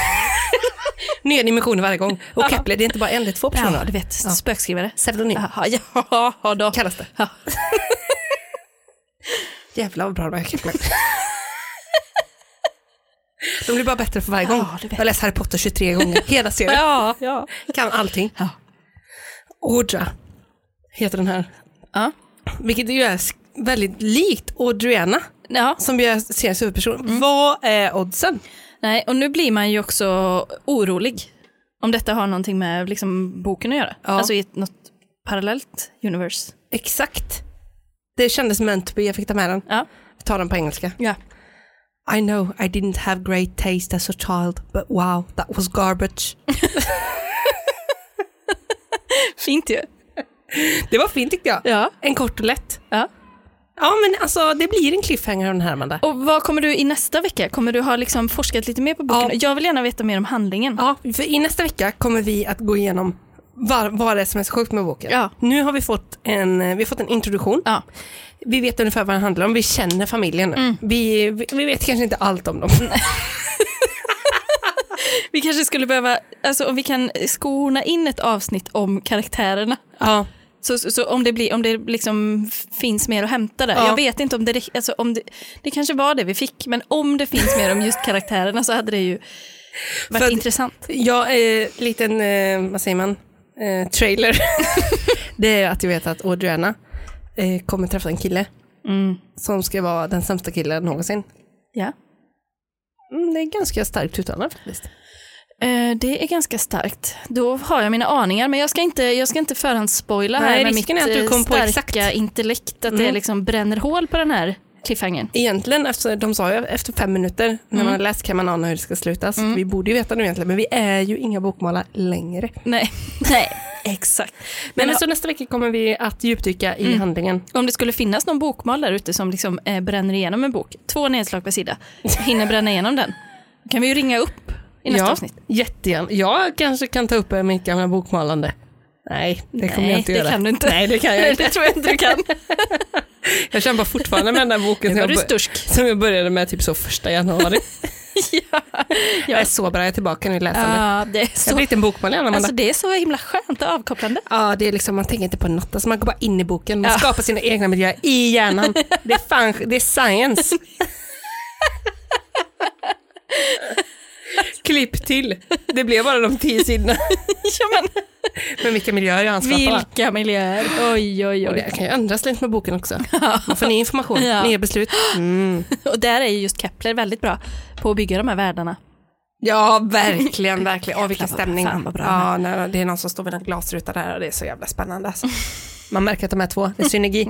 Speaker 2: nya dimensioner varje gång. Och Kepler, det är inte bara en, det är två
Speaker 1: Ja,
Speaker 2: personer.
Speaker 1: du vet, spökskrivare.
Speaker 2: Pseudonym
Speaker 1: Jaha, ja, ja, då.
Speaker 2: kallas det.
Speaker 1: Ja.
Speaker 2: Jävlar vad bra de är, Kepler. De blir bara bättre för varje gång.
Speaker 1: du vet.
Speaker 2: jag har läst Harry Potter 23 gånger, hela serien.
Speaker 1: Ja, ja.
Speaker 2: Kan allting.
Speaker 1: Ja.
Speaker 2: Audra heter den här.
Speaker 1: Ja.
Speaker 2: Vilket ju är sk- väldigt likt Audriana.
Speaker 1: ja.
Speaker 2: som ju är seriens huvudperson.
Speaker 1: Mm.
Speaker 2: Vad är oddsen?
Speaker 1: Nej, och nu blir man ju också orolig. Om detta har någonting med liksom, boken att göra.
Speaker 2: Ja.
Speaker 1: Alltså i ett, något parallellt universe.
Speaker 2: Exakt. Det kändes meant to be, jag fick ta med den.
Speaker 1: Ja.
Speaker 2: Ta den på engelska.
Speaker 1: ja.
Speaker 2: I know I didn't have great taste as a child, but wow, that was garbage.
Speaker 1: Fint ju.
Speaker 2: Det var fint tyckte jag.
Speaker 1: Ja.
Speaker 2: En kort och lätt.
Speaker 1: ja.
Speaker 2: Ja men alltså det blir en cliffhanger av den här Amanda.
Speaker 1: Och vad kommer du i nästa vecka? Kommer du ha liksom forskat lite mer på boken?
Speaker 2: Ja.
Speaker 1: Jag vill gärna veta mer om handlingen.
Speaker 2: Ja, för i nästa vecka kommer vi att gå igenom var, vad det är som är så sjukt med boken.
Speaker 1: Ja.
Speaker 2: Nu har vi fått en, vi har fått en introduktion.
Speaker 1: Ja. Mm.
Speaker 2: Vi vet ungefär vad den handlar om, vi känner familjen nu. Vi, vi, vi vet kanske inte allt om dem.
Speaker 1: Vi kanske skulle behöva, alltså om vi kan skona in ett avsnitt om karaktärerna.
Speaker 2: ja.
Speaker 1: Så, så, så om det, blir, om det liksom f- finns mer att hämta där.
Speaker 2: Ja.
Speaker 1: Jag vet inte om det, räck- alltså om det, det kanske var det vi fick, men om det finns mer om just karaktärerna så hade det ju varit
Speaker 2: För att-
Speaker 1: intressant.
Speaker 2: Ja, eh, liten, eh, vad säger man, eh, trailer. det är att jag vet att Audriana eh, kommer träffa en kille
Speaker 1: Mm.
Speaker 2: som ska vara den sämsta killen någonsin.
Speaker 1: Ja.
Speaker 2: Mm, det är ganska starkt uttalat faktiskt.
Speaker 1: Eh, det är ganska starkt. Då har jag mina aningar, men jag ska inte, jag ska inte förhandsspoila
Speaker 2: Nej,
Speaker 1: här med mitt
Speaker 2: risken är att du
Speaker 1: eh,
Speaker 2: kom på
Speaker 1: starka
Speaker 2: exakt.
Speaker 1: intellekt, att det
Speaker 2: Mm.
Speaker 1: liksom bränner hål på den här cliffhangern.
Speaker 2: Egentligen, efter, de sa ju efter fem minuter när
Speaker 1: Mm.
Speaker 2: man har läst kan man ana hur det ska sluta. Så vi borde ju veta nu egentligen, men vi är ju inga bokmålar längre.
Speaker 1: Nej. Nej. Exakt.
Speaker 2: Men
Speaker 1: Men Mm.
Speaker 2: alltså nästa vecka kommer vi att djupdyka i handlingen.
Speaker 1: om det skulle finnas någon bokmal där ute som liksom eh, bränner igenom en bok, två nedslag per sida, hinner bränna igenom den, då kan vi ju ringa upp i nästa
Speaker 2: ja,
Speaker 1: avsnitt.
Speaker 2: jättegärna. Jag kanske kan ta upp eh, mitt gamla bokmalande. Nej, det kommer
Speaker 1: Nej,
Speaker 2: jag inte
Speaker 1: det
Speaker 2: göra.
Speaker 1: kan du inte.
Speaker 2: Nej, det kan jag inte.
Speaker 1: det tror jag inte du kan.
Speaker 2: Jag kämpar fortfarande med den där boken
Speaker 1: Nu
Speaker 2: som
Speaker 1: var
Speaker 2: jag,
Speaker 1: du
Speaker 2: bör-
Speaker 1: stursk.
Speaker 2: som jag började med typ så första januari. Jag är så bra, jag är tillbaka nu i läsandet.
Speaker 1: Ja, det är
Speaker 2: Jag har
Speaker 1: så,
Speaker 2: blivit en bokmal igen, Amanda.
Speaker 1: alltså det är så himla skönt och avkopplande.
Speaker 2: Ja, det är liksom, man tänker inte på något. Alltså man går bara in i boken, man
Speaker 1: Ja.
Speaker 2: skapar sina egna miljöer i hjärnan. Det är, fan, det är science. Klipp till. Det blev bara de tio sidorna.
Speaker 1: Ja, men,
Speaker 2: Men vilka miljöer jag anskapar.
Speaker 1: vilka miljöer. Oj, oj,
Speaker 2: Och
Speaker 1: oj.
Speaker 2: det kan ju ändras lite med boken också. Man får ny information,
Speaker 1: Ja.
Speaker 2: nya beslut. Mm.
Speaker 1: Och där är ju just Kepler väldigt bra på att bygga de här världarna.
Speaker 2: Ja, verkligen, verkligen. Åh, vilken
Speaker 1: Jävlar, vad-
Speaker 2: stämning.
Speaker 1: fan, vad bra.
Speaker 2: ja, nej, det är någon som står vid en glasruta där och det är så jävla spännande. Alltså. Man märker att de är två, det är synergi.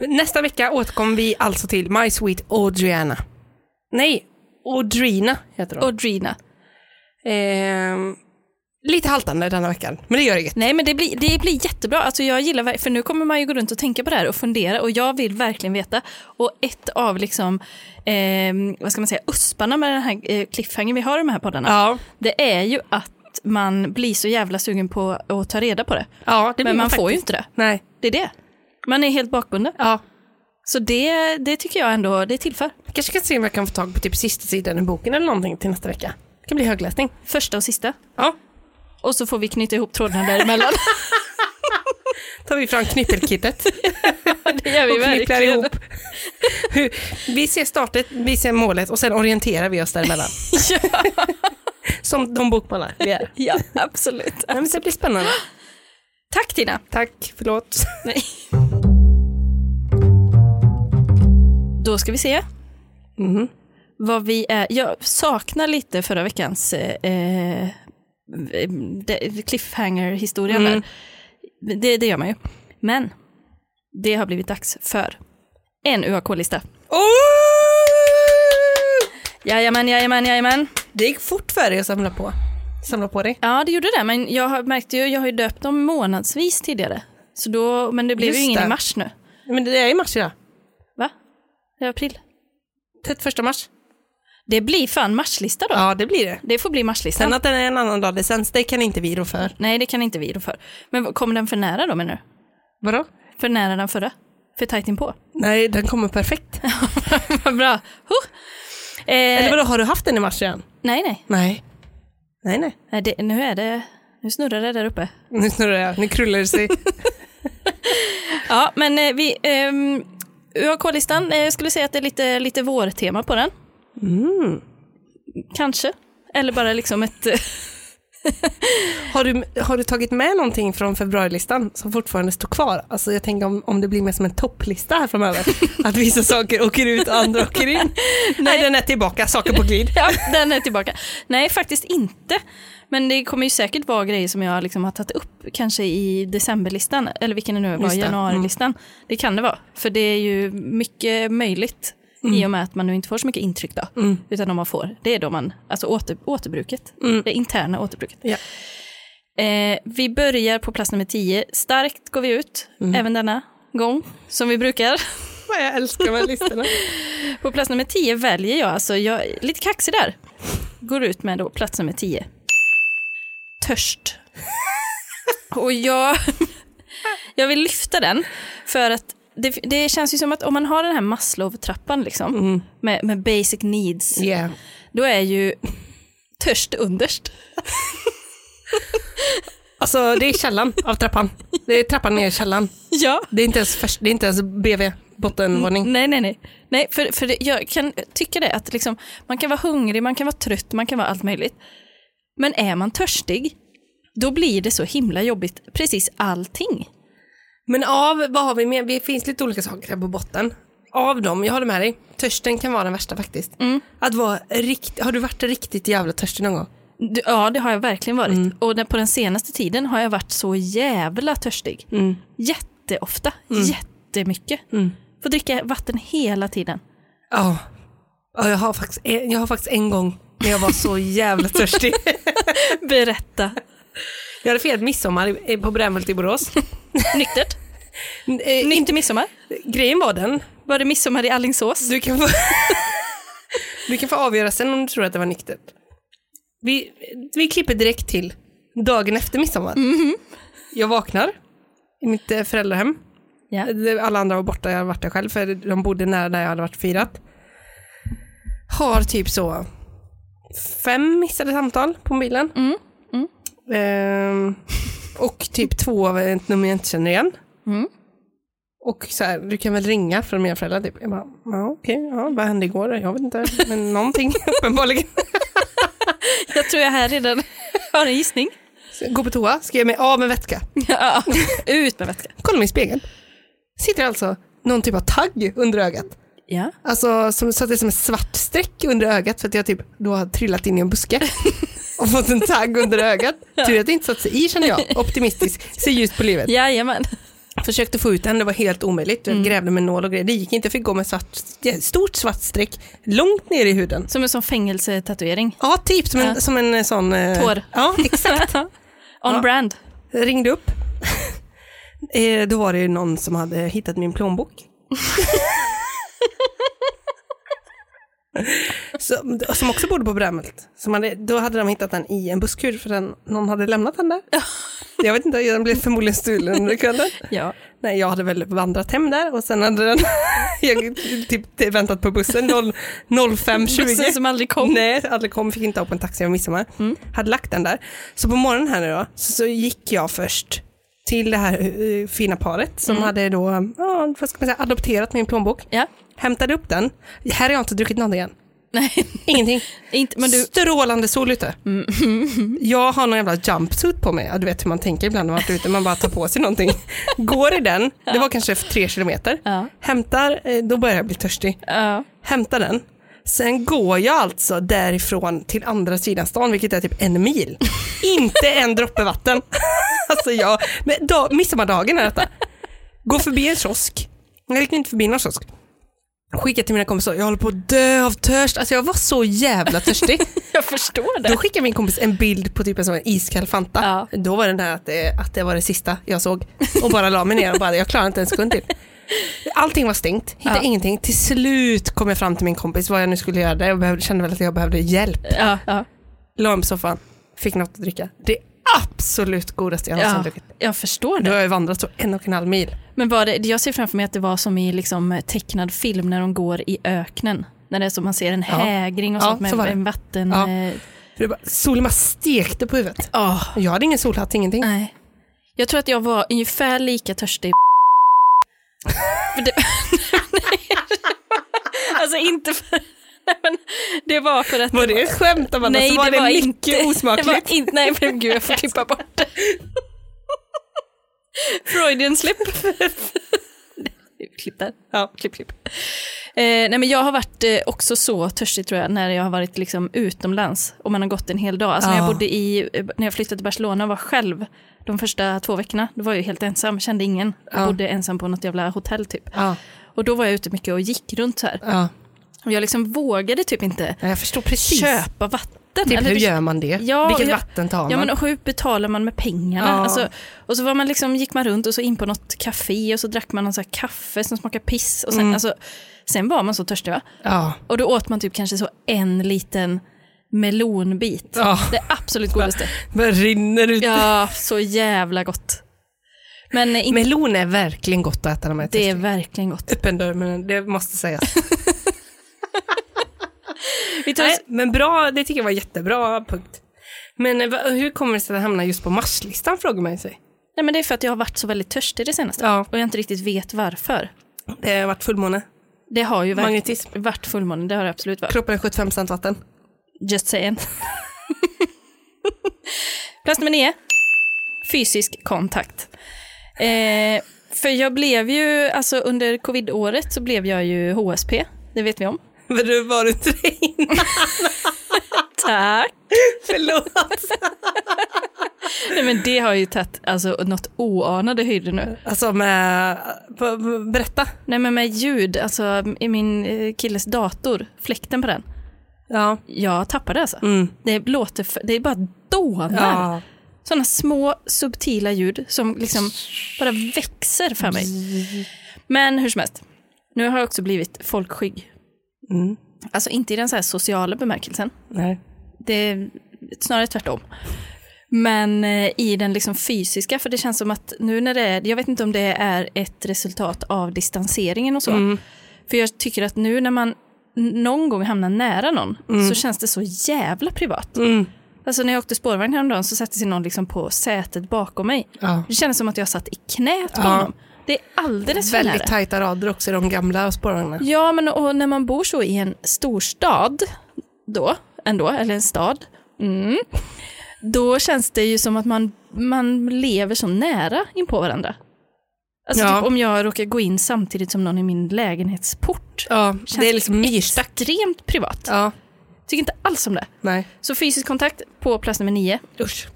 Speaker 2: Nästa vecka återkommer vi alltså till My Sweet Audriana. Nej, Audrina heter hon.
Speaker 1: Och Drina.
Speaker 2: Ehm, lite haltande denna veckan, men det gör inget.
Speaker 1: Nej men det blir, det blir jättebra, alltså jag gillar ver- för nu kommer man ju gå runt och tänka på det här och fundera och jag vill verkligen veta. Och ett av liksom, ehm, vad ska man säga, usparna med den här eh, cliffhangern vi har i de här poddarna,
Speaker 2: Ja,
Speaker 1: det är ju att man blir så jävla sugen på att ta reda på det.
Speaker 2: ja det blir
Speaker 1: Men man
Speaker 2: faktiskt.
Speaker 1: får ju inte det,
Speaker 2: Nej,
Speaker 1: det är det. Man är helt bakbunden.
Speaker 2: ja.
Speaker 1: Så det, det tycker jag ändå, det tillför.
Speaker 2: Jag kanske kan se om jag kan få tag på typ sista sidan i boken eller någonting till nästa vecka. Det kan bli högläsning.
Speaker 1: Första och sista.
Speaker 2: Ja,
Speaker 1: Och så får vi knyta ihop trådarna däremellan.
Speaker 2: tar vi fram knyppelkittet.
Speaker 1: det gör vi
Speaker 2: och knipplar
Speaker 1: verkligen.
Speaker 2: ihop. vi ser startet, vi ser målet och sen orienterar vi oss däremellan.
Speaker 1: ja,
Speaker 2: Som de bokmallar vi är.
Speaker 1: ja, absolut.
Speaker 2: Nej, men det blir spännande.
Speaker 1: Tack Tina.
Speaker 2: Tack, förlåt.
Speaker 1: Nej. Då ska vi se
Speaker 2: Mhm.
Speaker 1: vad vi är. Jag saknar lite förra veckans eh, eh, de- cliffhanger-historien
Speaker 2: Mm.
Speaker 1: där. Det, det gör man ju. Men det har blivit dags för en UAK-lista. Jajamän, jajamän, jajamän.
Speaker 2: Det gick fort för dig att samla på, samla på dig.
Speaker 1: Ja, det gjorde det, men jag har, märkte ju, jag har ju döpt dem månadsvis tidigare. Så då, men det blev ju
Speaker 2: Just
Speaker 1: ingen
Speaker 2: det.
Speaker 1: i mars nu.
Speaker 2: Men det är i mars idag.
Speaker 1: Va? Det är april.
Speaker 2: 31 mars.
Speaker 1: Det blir fan marslista då.
Speaker 2: Ja, det blir det.
Speaker 1: Det får bli marslistan.
Speaker 2: Sen att den är en annan dag licens, det kan inte vi rå för.
Speaker 1: Nej, det kan inte vi då för. Men vad- kommer den för nära då menar du?
Speaker 2: Vadå?
Speaker 1: För nära den förra? För tajt inpå?
Speaker 2: Nej, den kommer perfekt.
Speaker 1: Vad bra. Huh. Eh,
Speaker 2: Eller vadå, har du haft den i mars igen?
Speaker 1: nej, nej.
Speaker 2: Nej. Nej, nej.
Speaker 1: nej det, nu är det... Nu snurrar det där uppe.
Speaker 2: Nu snurrar jag, nu krullar det sig.
Speaker 1: Ja, men eh, vi... ehm, UAK-listan, eh, jag skulle säga att det är lite, lite vårtema på den. Kanske. Eller bara liksom ett...
Speaker 2: Har du, har du tagit med någonting från februarilistan som fortfarande står kvar? Alltså jag tänker om, om det blir mer som en topplista här framöver. Att vissa saker åker ut, andra åker in. Nej, den är tillbaka, saker på glid.
Speaker 1: ja, den är tillbaka. Nej, faktiskt inte. Men det kommer ju säkert vara grejer som jag liksom har tagit upp, kanske i decemberlistan, eller vilken det nu var,
Speaker 2: Just det. Mm.
Speaker 1: januarilistan. Det kan det vara, för det är ju mycket möjligt
Speaker 2: Mm.
Speaker 1: i och med att man nu inte får så mycket intryck då, utan om man får, det är då man, alltså åter, återbruket, det interna återbruket.
Speaker 2: Mm. Ja.
Speaker 1: Eh, vi börjar på plats nummer 10, starkt går vi ut,
Speaker 2: Mm.
Speaker 1: även denna gång, som vi brukar.
Speaker 2: Vad jag älskar med listorna.
Speaker 1: På plats nummer 10 väljer jag, alltså jag är lite kaxig där, går ut med då plats nummer 10. Törst. Och jag, jag vill lyfta den för att det, det känns ju som att om man har den här Maslow-trappan liksom, med, med basic needs,
Speaker 2: Yeah.
Speaker 1: då är ju törst underst.
Speaker 2: Alltså det är källan av trappan. Det är trappan ner i källan.
Speaker 1: Ja.
Speaker 2: Det är inte ens, först, det är inte ens BV, bottenvåning.
Speaker 1: Nej, nej, nej. nej för, för det, jag kan tycka det att liksom, man kan vara hungrig, man kan vara trött, man kan vara allt möjligt. Men är man törstig, då blir det så himla jobbigt, precis allting.
Speaker 2: Men av, vad har vi mer? Det finns lite olika saker här på botten. Av dem, jag håller med dig, törsten kan vara den värsta faktiskt. Att vara rikt, har du varit riktigt jävla törstig någon gång?
Speaker 1: Du- Ja, det har jag verkligen varit. Och den- på den senaste tiden har jag varit så jävla törstig. Jätteofta, jättemycket. Får dricka vatten hela tiden.
Speaker 2: Ja. Ja, jag, har faktiskt, en- jag har faktiskt en gång när jag var så jävla törstig.
Speaker 1: Berätta.
Speaker 2: Jag hade firat midsommar i- på Brännhult i Borås.
Speaker 1: Nyktert?
Speaker 2: N- eh,
Speaker 1: Nytt i midsommar?
Speaker 2: Grejen var den,
Speaker 1: Var det midsommar i Allingsås?
Speaker 2: du kan få, du kan få avgöra sen om du tror att det var nyktert. Vi, vi klipper direkt till dagen efter midsommar. Jag vaknar i mitt eh, föräldrahem.
Speaker 1: Ja.
Speaker 2: Alla andra var borta, jag hade varit där själv för de bodde nära där jag hade varit och firat. Har typ så fem missade samtal på mobilen. Ehm, och typ två av ett nummer jag inte känner igen. Och så här, du kan väl ringa från mina föräldrar typ. Jag bara, ja okej, ja, vad hände igår? Jag vet inte, men någonting uppenbarligen.
Speaker 1: Jag tror jag här redan har en gissning.
Speaker 2: Så jag Går på toa, ska jag mig av med vätska.
Speaker 1: Ja. Ut med vätska.
Speaker 2: Kollar mig i spegeln. Sitter alltså någon typ av tagg under ögat.
Speaker 1: Ja.
Speaker 2: Alltså som, så att det är som ett svart streck under ögat för att jag typ då har trillat in i en buske och fått en tagg under ögat. Tur att det inte satt sig i känner jag, optimistisk, ser ljust på livet.
Speaker 1: Jajamän.
Speaker 2: Försökte få ut den, det var helt omöjligt.
Speaker 1: Mm.
Speaker 2: Jag grävde med nål och grejer, det gick inte. Jag fick gå med svart, stort svart streck långt ner i huden.
Speaker 1: Som en sån fängelsetatuering.
Speaker 2: Ja, typ som en,
Speaker 1: Ja.
Speaker 2: som en eh, sån... eh,
Speaker 1: Tår.
Speaker 2: Ja, exakt.
Speaker 1: On brand.
Speaker 2: Ringde upp. Eh, då var det ju någon som hade hittat min plånbok. som, som också bodde på Brämhult. Som hade, då hade de hittat den i en busskur för den, någon hade lämnat den där. Jag vet inte, den blev förmodligen stulen under kvällen.
Speaker 1: Ja.
Speaker 2: Nej, jag hade väl vandrat hem där och sen hade den jag, typ, väntat på bussen 0- 05.20.
Speaker 1: Bussen som aldrig kom.
Speaker 2: Nej, aldrig kom, fick inte ha på en taxi över midsommar.
Speaker 1: Mm.
Speaker 2: Hade lagt den där. Så på morgonen här nu då, så, så gick jag först till det här eh, fina paret som
Speaker 1: Mm.
Speaker 2: hade då, ja, vad ska man säga, adopterat min plånbok.
Speaker 1: Ja.
Speaker 2: Hämtade upp den. Här har jag inte druckit någonting än.
Speaker 1: Nej,
Speaker 2: Ingenting.
Speaker 1: inte, men du... Mm.
Speaker 2: Strålande sol ute. Jag har någon jävla jumpsuit på mig. Ja, du vet hur man tänker ibland när man har varit ute, man bara tar på sig någonting. Går i den, det var kanske tre kilometer.
Speaker 1: Ja.
Speaker 2: Hämtar, eh, då börjar jag bli törstig.
Speaker 1: Ja.
Speaker 2: Hämtar den. Sen går jag alltså därifrån till andra sidan stan, vilket är typ en mil. Inte en droppe vatten. alltså jag, men dag, midsommardagen är detta. Går förbi en kiosk. Jag gick inte förbi någon kiosk. Skickar till mina kompisar, jag håller på att dö av törst. Alltså jag var så jävla törstig.
Speaker 1: Jag förstår
Speaker 2: Då
Speaker 1: det.
Speaker 2: skickade min kompis en bild på typ en sån här iskall Fanta.
Speaker 1: Ja.
Speaker 2: Då var den där att det, att det var det sista jag såg. Och bara la mig ner och bara, jag klarar inte en sekund till. Allting var stängt, hittade
Speaker 1: Ja.
Speaker 2: ingenting. Till slut kom jag fram till min kompis vad jag nu skulle göra där. Jag behövde, kände väl att jag behövde hjälp.
Speaker 1: Ja, ja,
Speaker 2: La mig på soffan, fick något att dricka. Det absolut godaste jag någonsin
Speaker 1: ja.
Speaker 2: druckit.
Speaker 1: Jag förstår
Speaker 2: Då
Speaker 1: det.
Speaker 2: har jag vandrat så en och en halv mil.
Speaker 1: Men var det, jag ser framför mig att det var som i liksom tecknad film när de går i öknen. När det är som man ser en hägring och
Speaker 2: Ja,
Speaker 1: sånt med
Speaker 2: så var det.
Speaker 1: en vatten...
Speaker 2: Ja.
Speaker 1: eh,
Speaker 2: För det bara, solen bara stekte på huvudet.
Speaker 1: åh.
Speaker 2: Jag hade ingen solhatt, ingenting.
Speaker 1: Nej. Jag tror att jag var ungefär lika törstig för det... Alltså inte för... Nej, men det var för att...
Speaker 2: Var det ett skämt? Amanda?
Speaker 1: Nej,
Speaker 2: Så var det,
Speaker 1: det var
Speaker 2: mycket
Speaker 1: inte- Det
Speaker 2: osmakligt.
Speaker 1: var inte... Nej, men gud, jag får typ klippa bort det. Freudian slip. Klipp där.
Speaker 2: Ja.
Speaker 1: Klipp, klipp. Eh, nej men jag har varit eh, också så törstig tror jag när jag har varit liksom, utomlands och man har gått en hel dag. Alltså, när, jag
Speaker 2: Ja.
Speaker 1: bodde i, eh, när jag flyttade till Barcelona och var själv de första två veckorna, då var jag ju helt ensam, kände ingen. Jag
Speaker 2: Ja.
Speaker 1: bodde ensam på något jävla hotell typ.
Speaker 2: Ja,
Speaker 1: Och då var jag ute mycket och gick runt så här.
Speaker 2: ja.
Speaker 1: Och jag liksom vågade typ inte
Speaker 2: Ja, Jag förstår precis.
Speaker 1: köpa vatten.
Speaker 2: Typ,
Speaker 1: Eller
Speaker 2: hur
Speaker 1: Alltså, det-
Speaker 2: gör man det?
Speaker 1: Ja,
Speaker 2: Vilket
Speaker 1: ja-
Speaker 2: vatten tar man?
Speaker 1: Ja men och hur betalar man med pengarna?
Speaker 2: Ja.
Speaker 1: Alltså, och så var man liksom, gick man runt och så in på något café och så drack man någon så här kaffe som smakade piss. Och sen, alltså, sen var man så törstig va?
Speaker 2: ja.
Speaker 1: Och då åt man typ kanske så en liten melonbit.
Speaker 2: Ja.
Speaker 1: Det absolut godaste.
Speaker 2: Bara rinner ut.
Speaker 1: Ja, så jävla gott. Men eh, inte,
Speaker 2: Melon är verkligen gott att äta när man
Speaker 1: det är
Speaker 2: äter
Speaker 1: verkligen gott.
Speaker 2: öppen dörr, men det måste sägas.
Speaker 1: Vi tar
Speaker 2: Nej, men bra, det tycker jag var jättebra punkt. Men eh, va- hur kommer det sig att det hamnar just på marslistan frågar man ju sig.
Speaker 1: Nej, men det är för att jag har varit så väldigt törstig det senaste.
Speaker 2: Ja.
Speaker 1: Och jag inte riktigt vet varför.
Speaker 2: Det har varit fullmåne,
Speaker 1: Det har ju verkligen
Speaker 2: magnetism.
Speaker 1: varit fullmåne, det har det absolut varit.
Speaker 2: Kroppen är 75 procent vatten.
Speaker 1: Just saying. Plats nummer nio. Fysisk kontakt. Eh, för jag blev ju, alltså under covid-året så blev jag ju HSP. Det vet vi om.
Speaker 2: Men du var du inte det innan?
Speaker 1: Tack.
Speaker 2: Förlåt.
Speaker 1: Nej men det har ju tagit alltså något oanade höjder nu.
Speaker 2: Alltså med, b- b- berätta.
Speaker 1: Nej men med ljud, alltså i min eh, killes dator, fläkten på den.
Speaker 2: Ja.
Speaker 1: Jag tappade alltså. Det låter, för, det är bara dånar.
Speaker 2: ja.
Speaker 1: Sådana små subtila ljud som liksom bara växer för mig. Men hur som helst, nu har jag också blivit folkskygg.
Speaker 2: Mm.
Speaker 1: Alltså inte i den så här sociala bemärkelsen,
Speaker 2: Nej.
Speaker 1: det är snarare tvärtom. Men eh, i den liksom fysiska, för det känns som att nu när det är, jag vet inte om det är ett resultat av distanseringen och så.
Speaker 2: Mm.
Speaker 1: För jag tycker att nu när man n- någon gång hamnar nära någon så känns det så jävla privat.
Speaker 2: Mm.
Speaker 1: Alltså när jag åkte spårvagn häromdagen så satte sig någon liksom på sätet bakom mig.
Speaker 2: Ja.
Speaker 1: Det kändes som att jag satt i knät på
Speaker 2: Ja.
Speaker 1: honom. Det är alldeles för nära.
Speaker 2: Väldigt tajta rader också i de gamla spårvagnarna.
Speaker 1: Ja, men och när man bor så i en storstad då, ändå, eller en stad, mm, då känns det ju som att man, man lever så nära in på varandra. Alltså
Speaker 2: Ja.
Speaker 1: typ om jag råkar gå in samtidigt som någon i min lägenhetsport.
Speaker 2: Ja, det är liksom myrstack.
Speaker 1: Extremt privat.
Speaker 2: Ja,
Speaker 1: Tycker inte alls om det.
Speaker 2: nej.
Speaker 1: Så fysisk kontakt på plats nummer nio,
Speaker 2: Usch.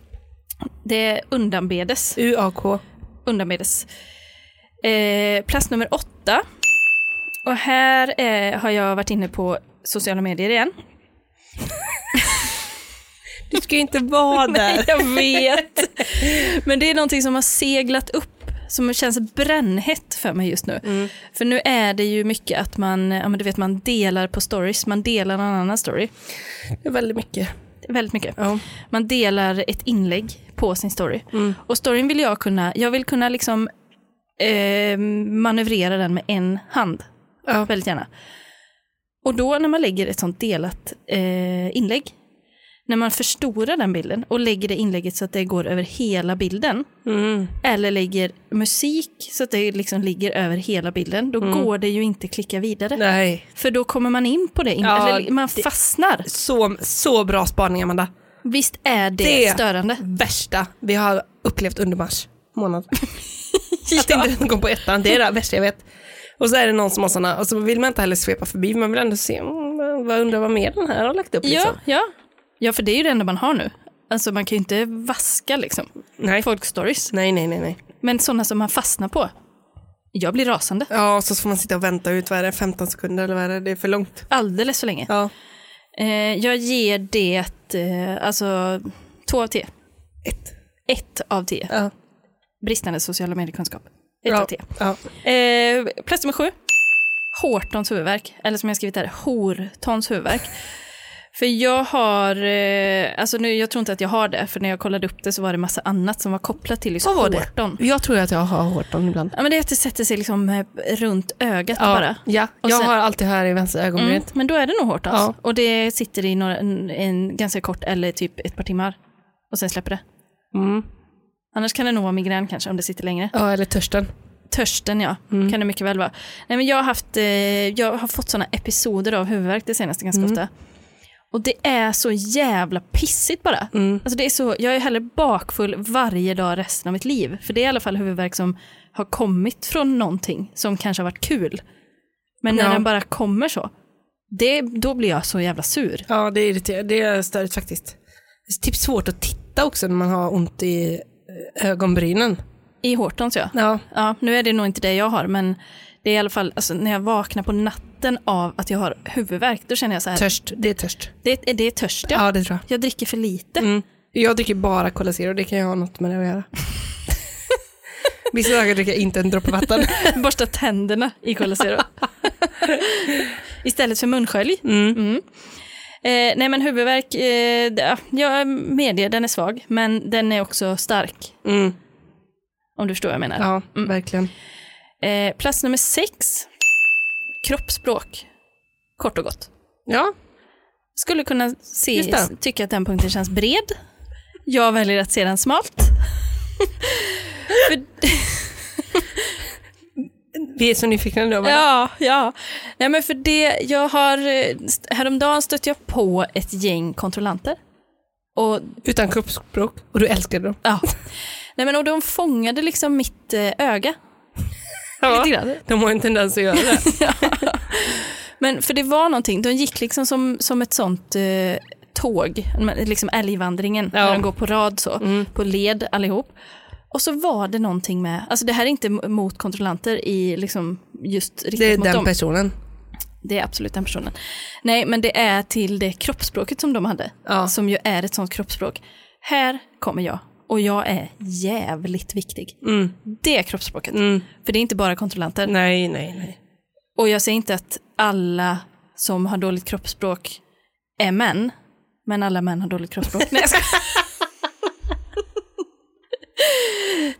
Speaker 1: det undanbedes.
Speaker 2: UAK.
Speaker 1: undanbedes. Eh, plats nummer åtta. Och här eh, har jag varit inne på sociala medier igen.
Speaker 2: Du ska ju inte vara där.
Speaker 1: Jag vet. Men det är någonting som har seglat upp, som känns brännhett för mig just nu. För nu är det ju mycket att man, ja, men du vet, man delar på stories, man delar någon annan story.
Speaker 2: Det är väldigt mycket.
Speaker 1: Väldigt mycket.
Speaker 2: Ja.
Speaker 1: Man delar ett inlägg på sin story.
Speaker 2: Mm.
Speaker 1: Och storyn vill jag kunna, jag vill kunna liksom eh, manövrera den med en hand.
Speaker 2: Ja.
Speaker 1: Väldigt gärna. Och då när man lägger ett sånt delat eh, inlägg, när man förstorar den bilden och lägger det inlägget så att det går över hela bilden,
Speaker 2: Mm.
Speaker 1: eller lägger musik så att det liksom ligger över hela bilden, då går det ju inte klicka vidare.
Speaker 2: Mm. Nej.
Speaker 1: För då kommer man in på det, in-
Speaker 2: Ja,
Speaker 1: eller man fastnar.
Speaker 2: Så, så bra spaning, Amanda.
Speaker 1: Visst är det,
Speaker 2: Det-
Speaker 1: störande?
Speaker 2: Värsta vi har upplevt under mars månad. Att internet kom på ettan, det är det värsta jag vet. Och så är det någon som har sådana, och så vill man inte heller svepa förbi, man vill ändå se, mm, vad undrar vad mer den här har lagt upp liksom.
Speaker 1: Ja, ja. ja, för det är ju det enda man har nu. Alltså man kan ju inte vaska liksom.
Speaker 2: Nej.
Speaker 1: Folkstories.
Speaker 2: nej, nej, nej, nej.
Speaker 1: Men sådana som man fastnar på. Jag blir rasande.
Speaker 2: Ja, och så får man sitta och vänta ut, vad är det, 15 sekunder eller vad är det, det är för långt.
Speaker 1: Alldeles för länge.
Speaker 2: Ja.
Speaker 1: Eh, jag ger det eh, alltså två av tio.
Speaker 2: Ett.
Speaker 1: Ett av tio.
Speaker 2: Ja.
Speaker 1: Bristande sociala mediekunskap. Ett av
Speaker 2: Ja.
Speaker 1: tio.
Speaker 2: ja.
Speaker 1: Eh, plats nummer sju. Hortons huvudvärk. Eller som jag skrivit här, Hortons huvudvärk. För jag har, eh, alltså nu, jag tror inte att jag har det, för när jag kollade upp det så var det massa annat som var kopplat till just Horton.
Speaker 2: Jag tror att jag har Horton ibland.
Speaker 1: Ja, men det är att det sätter sig liksom eh, runt ögat bara.
Speaker 2: Ja,
Speaker 1: Och
Speaker 2: jag
Speaker 1: sen-
Speaker 2: har alltid här i vänster
Speaker 1: Mm,
Speaker 2: ögonbrynet.
Speaker 1: men då är det nog Hortons.
Speaker 2: Ja.
Speaker 1: Och det sitter i några, en, en, ganska kort, eller typ ett par timmar. Och sen släpper det.
Speaker 2: Mm.
Speaker 1: Annars kan det nog vara migrän kanske, om det sitter längre.
Speaker 2: Ja, eller törsten.
Speaker 1: Törsten ja, kan det mycket väl vara. Nej, men jag, har haft, eh, jag har fått sådana episoder av huvudvärk det senaste ganska ofta. Och det är så jävla pissigt bara. Alltså det är så, jag är hellre bakfull varje dag resten av mitt liv. För det är i alla fall huvudvärk som har kommit från någonting som kanske har varit kul. Men när
Speaker 2: Ja.
Speaker 1: den bara kommer så, det, då blir jag så jävla sur.
Speaker 2: Ja, det är irriterande. Det är störigt faktiskt. Det är typ svårt att titta också när man har ont i eh, ögonbrynen.
Speaker 1: I Hortons ja.
Speaker 2: Ja,
Speaker 1: Ja, nu är det nog inte det jag har, men det är i alla fall alltså, när jag vaknar på natten av att jag har huvudvärk, då känner jag så här,
Speaker 2: törst. Det är törst.
Speaker 1: det, är- det är törst ja. Mm.
Speaker 2: Ja, det tror jag.
Speaker 1: Jag dricker för lite.
Speaker 2: Jag dricker bara Cola Zero, det kan ju ha något med det att göra. Vissa dagar dricker jag inte en droppe vatten.
Speaker 1: Borsta tänderna i Cola Zero. Istället för munskölj. Mm. Eh, nej men huvudvärk, eh, det- ja, jag medger den är svag, men den är också stark.
Speaker 2: Mm.
Speaker 1: Om du förstår vad jag menar.
Speaker 2: Ja, verkligen.
Speaker 1: Eh, plats nummer sex, kroppsspråk. Kort och gott.
Speaker 2: Ja,
Speaker 1: Skulle kunna se,
Speaker 2: Just det.
Speaker 1: tycka att den punkten känns bred. Jag väljer att se den smalt. För
Speaker 2: vi är så nyfikna nu. va?
Speaker 1: Ja, ja. Nej, men för det, jag har, eh, st- häromdagen stötte jag på ett gäng kontrollanter. Och,
Speaker 2: Utan kroppsspråk. Och du älskade dem.
Speaker 1: ja. Nej, men, och de fångade liksom mitt eh, öga. Lite grann.
Speaker 2: De har ju en tendens att göra det.
Speaker 1: Men för det var någonting, de gick liksom som, som ett sånt eh, tåg, men liksom älgvandringen,
Speaker 2: Ja. Mm.
Speaker 1: när de går på rad så, på led allihop. Och så var det någonting med, alltså det här är inte m- mot kontrollanter i liksom just riktat
Speaker 2: Det är
Speaker 1: mot
Speaker 2: den
Speaker 1: dem.
Speaker 2: personen.
Speaker 1: Det är absolut den personen. Nej, men det är till det kroppsspråket som de hade,
Speaker 2: Ja.
Speaker 1: som ju är ett sånt kroppsspråk. Här kommer jag och jag är jävligt viktig.
Speaker 2: Mm.
Speaker 1: Det är kroppsspråket.
Speaker 2: Mm.
Speaker 1: För det är inte bara kontrollanter.
Speaker 2: Nej, nej, nej.
Speaker 1: Och jag säger inte att alla som har dåligt kroppsspråk är män, men alla män har dåligt kroppsspråk. Nej, jag skojar.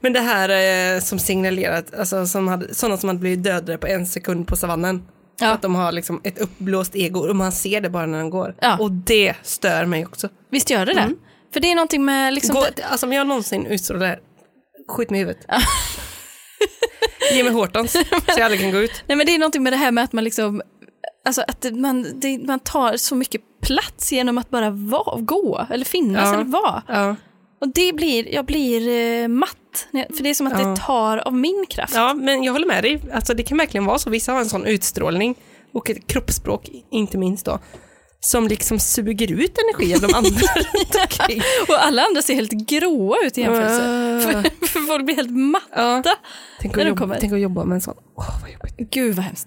Speaker 2: Men det här eh, som signalerat, alltså som hade, sådana som hade blivit dödade på en sekund på savannen.
Speaker 1: Ja.
Speaker 2: Att de har liksom ett uppblåst ego och man ser det bara när de går.
Speaker 1: Ja.
Speaker 2: Och det stör mig också.
Speaker 1: Visst gör det det? För det är någonting med liksom...
Speaker 2: Mm. Gå, alltså om jag någonsin utstrålar det här, skjut mig i huvudet. Ge mig Hortons så jag aldrig kan gå ut.
Speaker 1: Nej, men det är någonting med det här med att man liksom... Alltså att det- man, det, man tar så mycket plats genom att bara va, gå, eller finnas,
Speaker 2: Ja.
Speaker 1: eller vara.
Speaker 2: Ja.
Speaker 1: Och det blir, jag blir eh, matt, när jag- för det är som att det tar av min kraft.
Speaker 2: ja, men jag håller med dig. Alltså det kan verkligen vara så. Vissa har en sån utstrålning och ett kroppsspråk, inte minst då, som liksom suger ut energi av de andra runt omkring.
Speaker 1: Och alla andra ser helt gråa ut i jämförelse.
Speaker 2: Ah.
Speaker 1: För, för folk blir helt matta.
Speaker 2: Ja. Tänk,
Speaker 1: När
Speaker 2: att
Speaker 1: de
Speaker 2: jobba,
Speaker 1: kommer.
Speaker 2: tänk att jobba med en sån. Åh, vad jobbigt.
Speaker 1: Gud vad hemskt.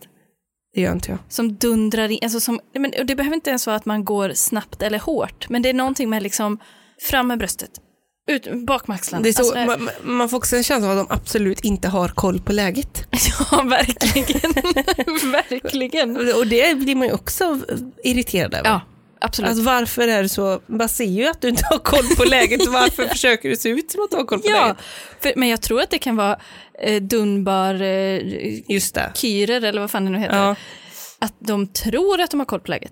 Speaker 2: Det gör inte jag.
Speaker 1: som dundrar in. Alltså som, nej, men, och det behöver inte ens vara att man går snabbt eller hårt, men det är någonting med liksom fram med bröstet, ut, bak med axlarna.
Speaker 2: Det är så,
Speaker 1: Alltså, det-
Speaker 2: man, man får också en känsla av att de absolut inte har koll på läget.
Speaker 1: ja, verkligen. verkligen.
Speaker 2: Och det blir man ju också irriterad över.
Speaker 1: Ja, absolut.
Speaker 2: Alltså varför är det så, man ser ju att du inte har koll på läget, varför försöker du se ut som att du har koll på
Speaker 1: ja,
Speaker 2: läget?
Speaker 1: för, men jag tror att det kan vara eh, dunbar eh,
Speaker 2: Just det.
Speaker 1: kyrer eller vad fan det nu heter.
Speaker 2: Ja.
Speaker 1: Att de tror att de har koll på läget.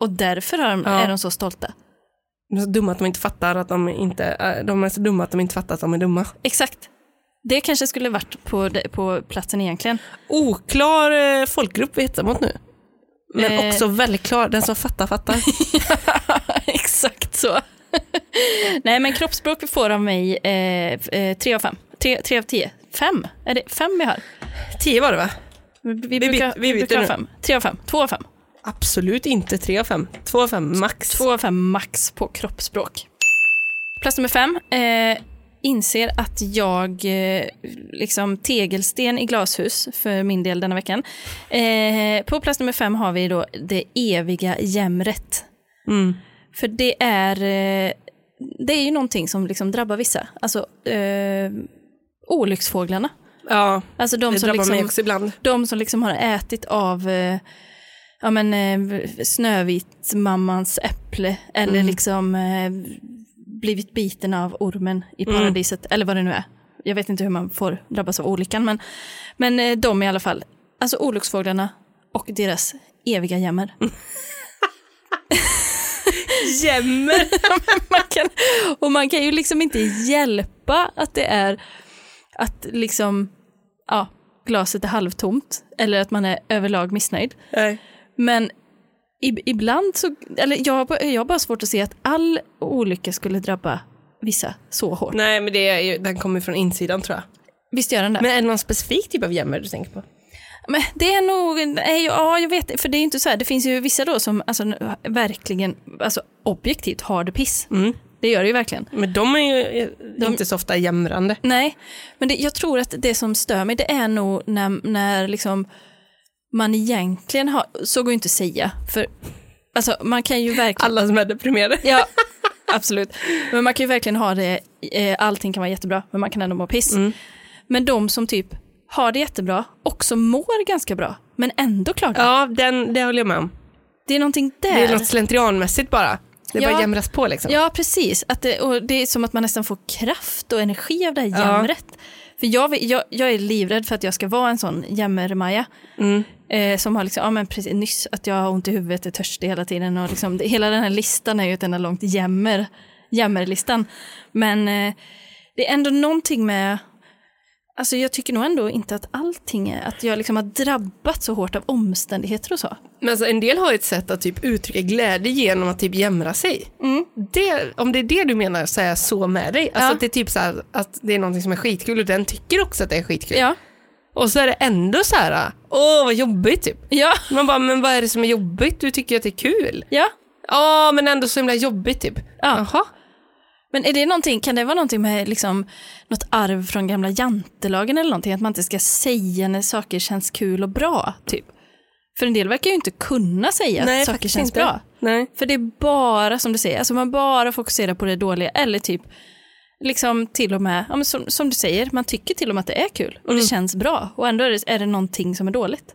Speaker 1: Och därför har de,
Speaker 2: Ja.
Speaker 1: är de så stolta.
Speaker 2: De är så dumma att de inte fattar att de inte, äh, de är så dumma att de inte fattar att de är dumma.
Speaker 1: Exakt. Det kanske skulle varit på, det- på platsen egentligen.
Speaker 2: Oklar eh, folkgrupp vi hetsar mot nu. Men
Speaker 1: Eh.
Speaker 2: också väldigt klar, den som fattar fattar.
Speaker 1: Exakt så. Nej, men kroppsspråk får av mig eh, eh, tre av fem. Tre, tre av tio. Fem? Är det fem vi har?
Speaker 2: Tio var det va?
Speaker 1: Vi, vi,
Speaker 2: byter-
Speaker 1: brukar,
Speaker 2: vi
Speaker 1: vi
Speaker 2: byter
Speaker 1: brukar ha
Speaker 2: nu.
Speaker 1: fem. Tre av fem. Två av fem.
Speaker 2: Absolut inte tre av fem, två av fem max.
Speaker 1: Två av fem max på kroppsspråk. Plats nummer fem. Eh, inser att jag, eh, liksom tegelsten i glashus för min del denna veckan. Eh, på plats nummer fem har vi då det eviga jämret.
Speaker 2: Mm.
Speaker 1: För det är, eh, det är ju någonting som liksom drabbar vissa. Alltså eh, olycksfåglarna.
Speaker 2: Ja,
Speaker 1: Alltså de
Speaker 2: det
Speaker 1: som,
Speaker 2: drabbar mig
Speaker 1: liksom,
Speaker 2: också ibland.
Speaker 1: de som liksom har ätit av eh, ja, men, eh, Snövit-mammans äpple eller liksom eh, blivit biten av ormen i paradiset eller vad det nu är. Jag vet inte hur man får drabbas av olyckan men, men eh, de i alla fall. Alltså olycksfåglarna och deras eviga jämmer.
Speaker 2: Jämmer!
Speaker 1: man kan, och man kan ju liksom inte hjälpa att det är att liksom, ja, glaset är halvtomt eller att man är överlag missnöjd.
Speaker 2: Nej.
Speaker 1: Men ib- ibland så, eller jag, har ba- jag har bara svårt att se att all olycka skulle drabba vissa så hårt.
Speaker 2: Nej, men det är ju, den kommer från insidan tror jag.
Speaker 1: Visst gör den det? Men,
Speaker 2: Men är det någon specifik typ av jämmer du tänker på?
Speaker 1: det är nog, nej, ja jag vet inte, för det är ju inte så här, det finns ju vissa då som alltså, verkligen, alltså objektivt har det piss. Det gör det ju verkligen.
Speaker 2: Mm. Men de är ju eh, inte så ofta jämrande.
Speaker 1: Nej, men det, jag tror att det som stör mig det är nog när, när liksom man egentligen har, så går ju inte att säga, för alltså, man kan ju verkligen...
Speaker 2: Alla som är deprimerade.
Speaker 1: Ja, absolut. Men man kan ju verkligen ha det, eh, allting kan vara jättebra, men man kan ändå må piss.
Speaker 2: Mm.
Speaker 1: Men de som typ har det jättebra, också mår ganska bra, men ändå klagar.
Speaker 2: Ja, den, det håller jag med om.
Speaker 1: Det är någonting där.
Speaker 2: Det är något slentrianmässigt bara. Det
Speaker 1: Ja.
Speaker 2: bara jämras på liksom.
Speaker 1: Ja, precis. Att det, och det är som att man nästan får kraft och energi av det här jämret. För jag, vill- jag, jag är livrädd för att jag ska vara en sån jämmer-Maja. Eh, som har liksom, ja men precis, nyss att jag har ont i huvudet, är törstig hela tiden och liksom, det, hela den här listan är ju ett enda långt jämmer, jämmerlistan. Men eh, det är ändå någonting med, alltså jag tycker nog ändå inte att allting är, att jag liksom har drabbats så hårt av omständigheter och så.
Speaker 2: Men alltså, en del har ju ett sätt att typ uttrycka glädje genom att typ jämra sig. Det, om det är det du menar så är jag så med dig. Alltså
Speaker 1: Ja.
Speaker 2: att det är typ så här, att det är någonting som är skitkul och den tycker också att det är skitkul.
Speaker 1: Ja,
Speaker 2: Och så är det ändå så här, åh vad jobbigt typ.
Speaker 1: ja,
Speaker 2: Man bara, men vad är det som är jobbigt? Du tycker att det är kul.
Speaker 1: ja.
Speaker 2: Ja, men ändå så himla jobbigt typ. Jaha.
Speaker 1: Men är det någonting, kan det vara någonting med liksom, något arv från gamla jantelagen eller någonting? Att man inte ska säga när saker känns kul och bra, typ? För en del verkar ju inte kunna säga att saker
Speaker 2: faktiskt
Speaker 1: känns
Speaker 2: inte.
Speaker 1: bra.
Speaker 2: Nej.
Speaker 1: För det är bara, som du säger, alltså man bara fokuserar på det dåliga eller typ liksom till och med, ja, men som, som du säger, man tycker till och med att det är kul och
Speaker 2: Mm.
Speaker 1: det känns bra och ändå är det, är det någonting som är dåligt.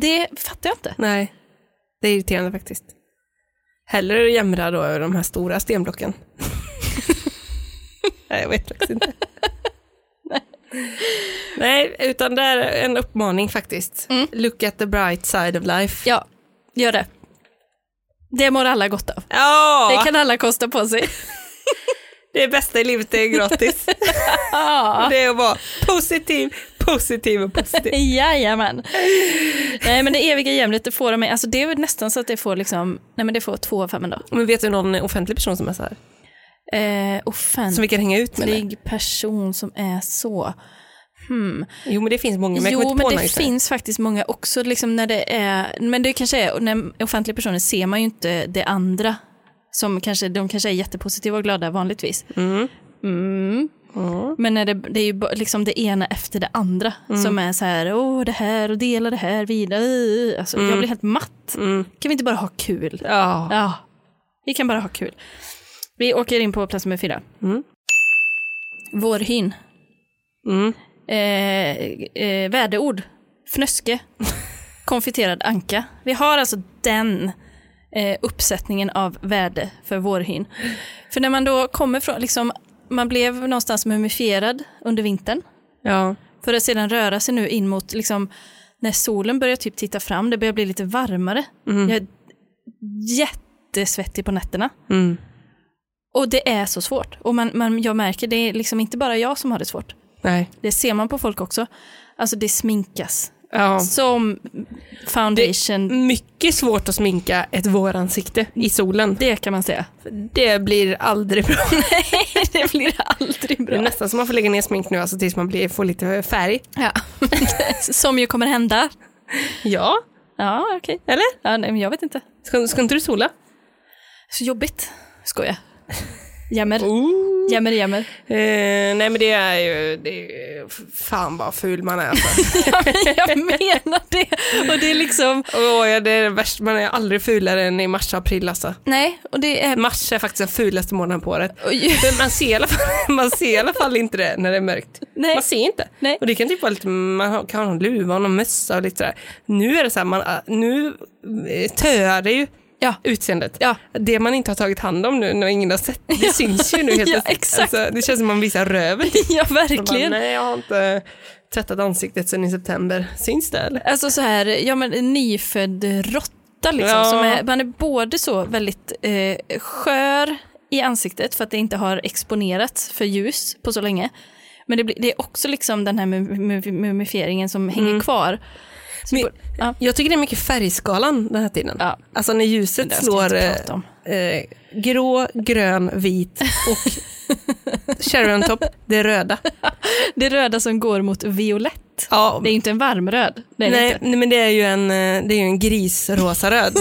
Speaker 1: Det fattar jag inte.
Speaker 2: Nej, det är irriterande faktiskt. Hellre jämra då över de här stora stenblocken. Nej, jag vet faktiskt inte. Nej, utan det är en uppmaning faktiskt.
Speaker 1: Mm.
Speaker 2: Look at the bright side of life.
Speaker 1: Ja, gör det. Det mår alla gott av.
Speaker 2: Ja,
Speaker 1: Det kan alla kosta på sig.
Speaker 2: det bästa i livet är gratis.
Speaker 1: Ja.
Speaker 2: Det är att vara positiv, positiv och positiv.
Speaker 1: Jajamän. Nej men det eviga jämlet, det får de mig, alltså det är väl nästan så att det får liksom, nej men det får två av fem ändå.
Speaker 2: Men vet du någon offentlig person som är så här?
Speaker 1: Eh,
Speaker 2: Som vi kan hänga ut med? eller?
Speaker 1: offentlig person som är så. Hmm.
Speaker 2: Jo, men det finns många. Men jag kommer
Speaker 1: Jo,
Speaker 2: inte
Speaker 1: men
Speaker 2: på
Speaker 1: det
Speaker 2: någon just nu.
Speaker 1: finns faktiskt många också, liksom när det är, men det kanske är, och när offentliga personer ser man ju inte det andra, som kanske, de kanske är jättepositiva och glada vanligtvis. Mm. Men när det, det är ju ba- liksom det ena efter det andra
Speaker 2: Mm.
Speaker 1: som är så här, åh det här och dela det här vidare. Alltså, Jag blir helt matt. Kan vi inte bara ha kul?
Speaker 2: Mm. Ja.
Speaker 1: Ja, vi kan bara ha kul. Vi åker in på plats nummer fyra. Vårhyn.
Speaker 2: Mm.
Speaker 1: Eh, eh, väderord. Fnöske. Konfiterad anka. Vi har alltså den eh, uppsättningen av värde för vårhyn. För när man då kommer från, liksom, man blev någonstans mumifierad under vintern
Speaker 2: Ja.
Speaker 1: för att sedan röra sig nu in mot, liksom, när solen börjar typ titta fram, det börjar bli lite varmare. Jag är jättesvettig på nätterna.
Speaker 2: Mm.
Speaker 1: Och det är så svårt. Och man, man, jag märker, det är liksom inte bara jag som har det svårt.
Speaker 2: Nej.
Speaker 1: Det ser man på folk också. Alltså det sminkas.
Speaker 2: Ja.
Speaker 1: Som foundation, det,
Speaker 2: Mycket svårt att sminka ett våransikte i solen.
Speaker 1: kan man säga.
Speaker 2: Det blir aldrig bra.
Speaker 1: det blir aldrig
Speaker 2: Det är
Speaker 1: bra.
Speaker 2: nästan som man får lägga ner smink nu alltså, tills man blir, får lite färg.
Speaker 1: Ja. som ju kommer hända.
Speaker 2: Ja,
Speaker 1: Ja, okej.
Speaker 2: eller?
Speaker 1: Ja, nej, men jag vet inte.
Speaker 2: Ska, ska inte du sola?
Speaker 1: Så jobbigt. Skoja. Jämmer. Jämmer, jämmer.
Speaker 2: Eh, nej men det är ju, det är ju f- fan vad ful man är alltså.
Speaker 1: Ja, men jag menar det. Och det är liksom...
Speaker 2: Åh, ja, det är det värsta, man är aldrig fulare än i mars och april alltså.
Speaker 1: Nej, och det är...
Speaker 2: Mars är faktiskt den fulaste månaden på året.
Speaker 1: och ju-
Speaker 2: Men man ser, i alla fall, man ser i alla fall inte det när det är mörkt.
Speaker 1: Nej.
Speaker 2: Man ser inte.
Speaker 1: Nej.
Speaker 2: Och det kan typ vara lite, man har- kan ha en luva och någon mössa och lite sådär. Nu är det så här, man, nu eh, töar det ju
Speaker 1: Ja.
Speaker 2: utseendet.
Speaker 1: Ja.
Speaker 2: Det man inte har tagit hand om nu när ingen har sett, det syns ju nu helt
Speaker 1: Ja,
Speaker 2: plötsligt.
Speaker 1: exakt.
Speaker 2: Alltså, det känns som man visar röven. typ.
Speaker 1: Ja,
Speaker 2: Man bara,
Speaker 1: verkligen.
Speaker 2: Nej, jag har inte tvättat ansiktet sedan i september. Syns det eller?
Speaker 1: Alltså så här, ja men en nyfödd råtta liksom.
Speaker 2: Ja.
Speaker 1: Som är, man är både så väldigt eh, skör i ansiktet för att det inte har exponerats för ljus på så länge. Men det, blir, det är också liksom den här mu- mu- mumifieringen som hänger kvar. Så
Speaker 2: Men-
Speaker 1: på- ja.
Speaker 2: Jag tycker det är mycket färgskalan den här tiden.
Speaker 1: Ja.
Speaker 2: Alltså när
Speaker 1: Det
Speaker 2: ljuset
Speaker 1: här ska jag
Speaker 2: slår
Speaker 1: inte
Speaker 2: eh,
Speaker 1: prata om.
Speaker 2: eh, grå, grön, vit och cherry on top, det röda.
Speaker 1: Det röda som går mot violett.
Speaker 2: Ja,
Speaker 1: Det är ju inte en varmröd. Det är det
Speaker 2: nej,
Speaker 1: inte.
Speaker 2: nej, men det är ju en, eh, det är ju en grisrosa röd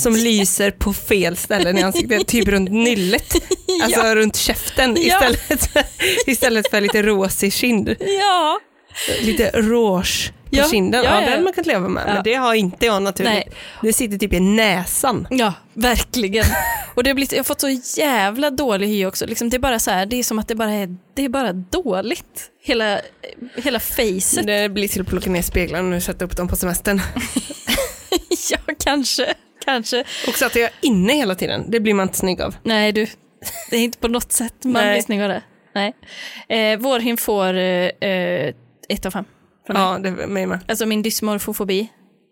Speaker 2: som lyser på fel ställen i ansiktet, typ runt nyllet, alltså runt käften
Speaker 1: Ja.
Speaker 2: istället, för, istället för lite rosig kind.
Speaker 1: Ja.
Speaker 2: Lite rouge på
Speaker 1: Ja,
Speaker 2: kinden,
Speaker 1: ja,
Speaker 2: ja,
Speaker 1: ja,
Speaker 2: det hade
Speaker 1: ja.
Speaker 2: man kunnat leva med,
Speaker 1: Ja.
Speaker 2: men det har inte jag naturligt.
Speaker 1: Nej.
Speaker 2: Det sitter typ i näsan.
Speaker 1: Ja, verkligen. Och det har blivit, jag har fått så jävla dålig hy också. Liksom, det är bara så här, det är som att det bara är, det är bara dåligt. Hela, hela facet.
Speaker 2: Det blir till att plocka ner speglarna och sätta upp dem på semestern.
Speaker 1: Ja, kanske. Kanske.
Speaker 2: Också att jag är inne hela tiden, det blir man inte snygg av.
Speaker 1: Nej, du. Det är inte på något sätt man
Speaker 2: Nej.
Speaker 1: blir snygg av det. Nej. Eh, vårhyn får eh, eh, ett av fem.
Speaker 2: Ja, det är mig med.
Speaker 1: Alltså min dysmorfofobi,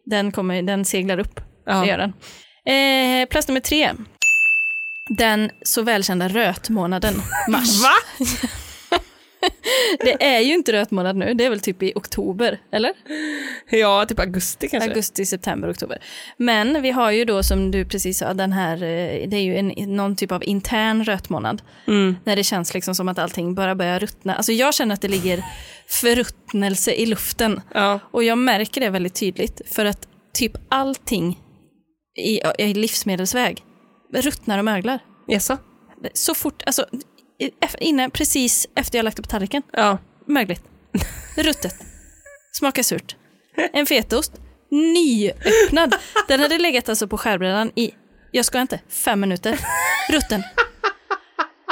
Speaker 1: den, kommer, den seglar upp.
Speaker 2: Ja.
Speaker 1: Det gör den. Eh, plats nummer tre. Den så välkända rötmånaden, mars.
Speaker 2: Va?
Speaker 1: Det är ju inte rötmånad nu, det är väl typ i oktober, eller?
Speaker 2: Ja, typ augusti kanske.
Speaker 1: Augusti, september, oktober. Men vi har ju då som du precis sa, den här, eh, det är ju en, någon typ av intern rötmånad.
Speaker 2: Mm.
Speaker 1: När det känns liksom som att allting bara börjar ruttna. Alltså jag känner att det ligger förruttnelse i luften.
Speaker 2: Ja.
Speaker 1: Och jag märker det väldigt tydligt, för att typ allting i, i livsmedelsväg ruttnar och möglar.
Speaker 2: Jaså?
Speaker 1: Så fort, alltså i- eff- innan, precis efter jag lagt det på tallriken.
Speaker 2: Ja.
Speaker 1: Mögligt. Ruttet. Smakar surt. En fetaost. Nyöppnad. Den hade legat alltså på skärbrädan i, jag ska inte, fem minuter. Rutten.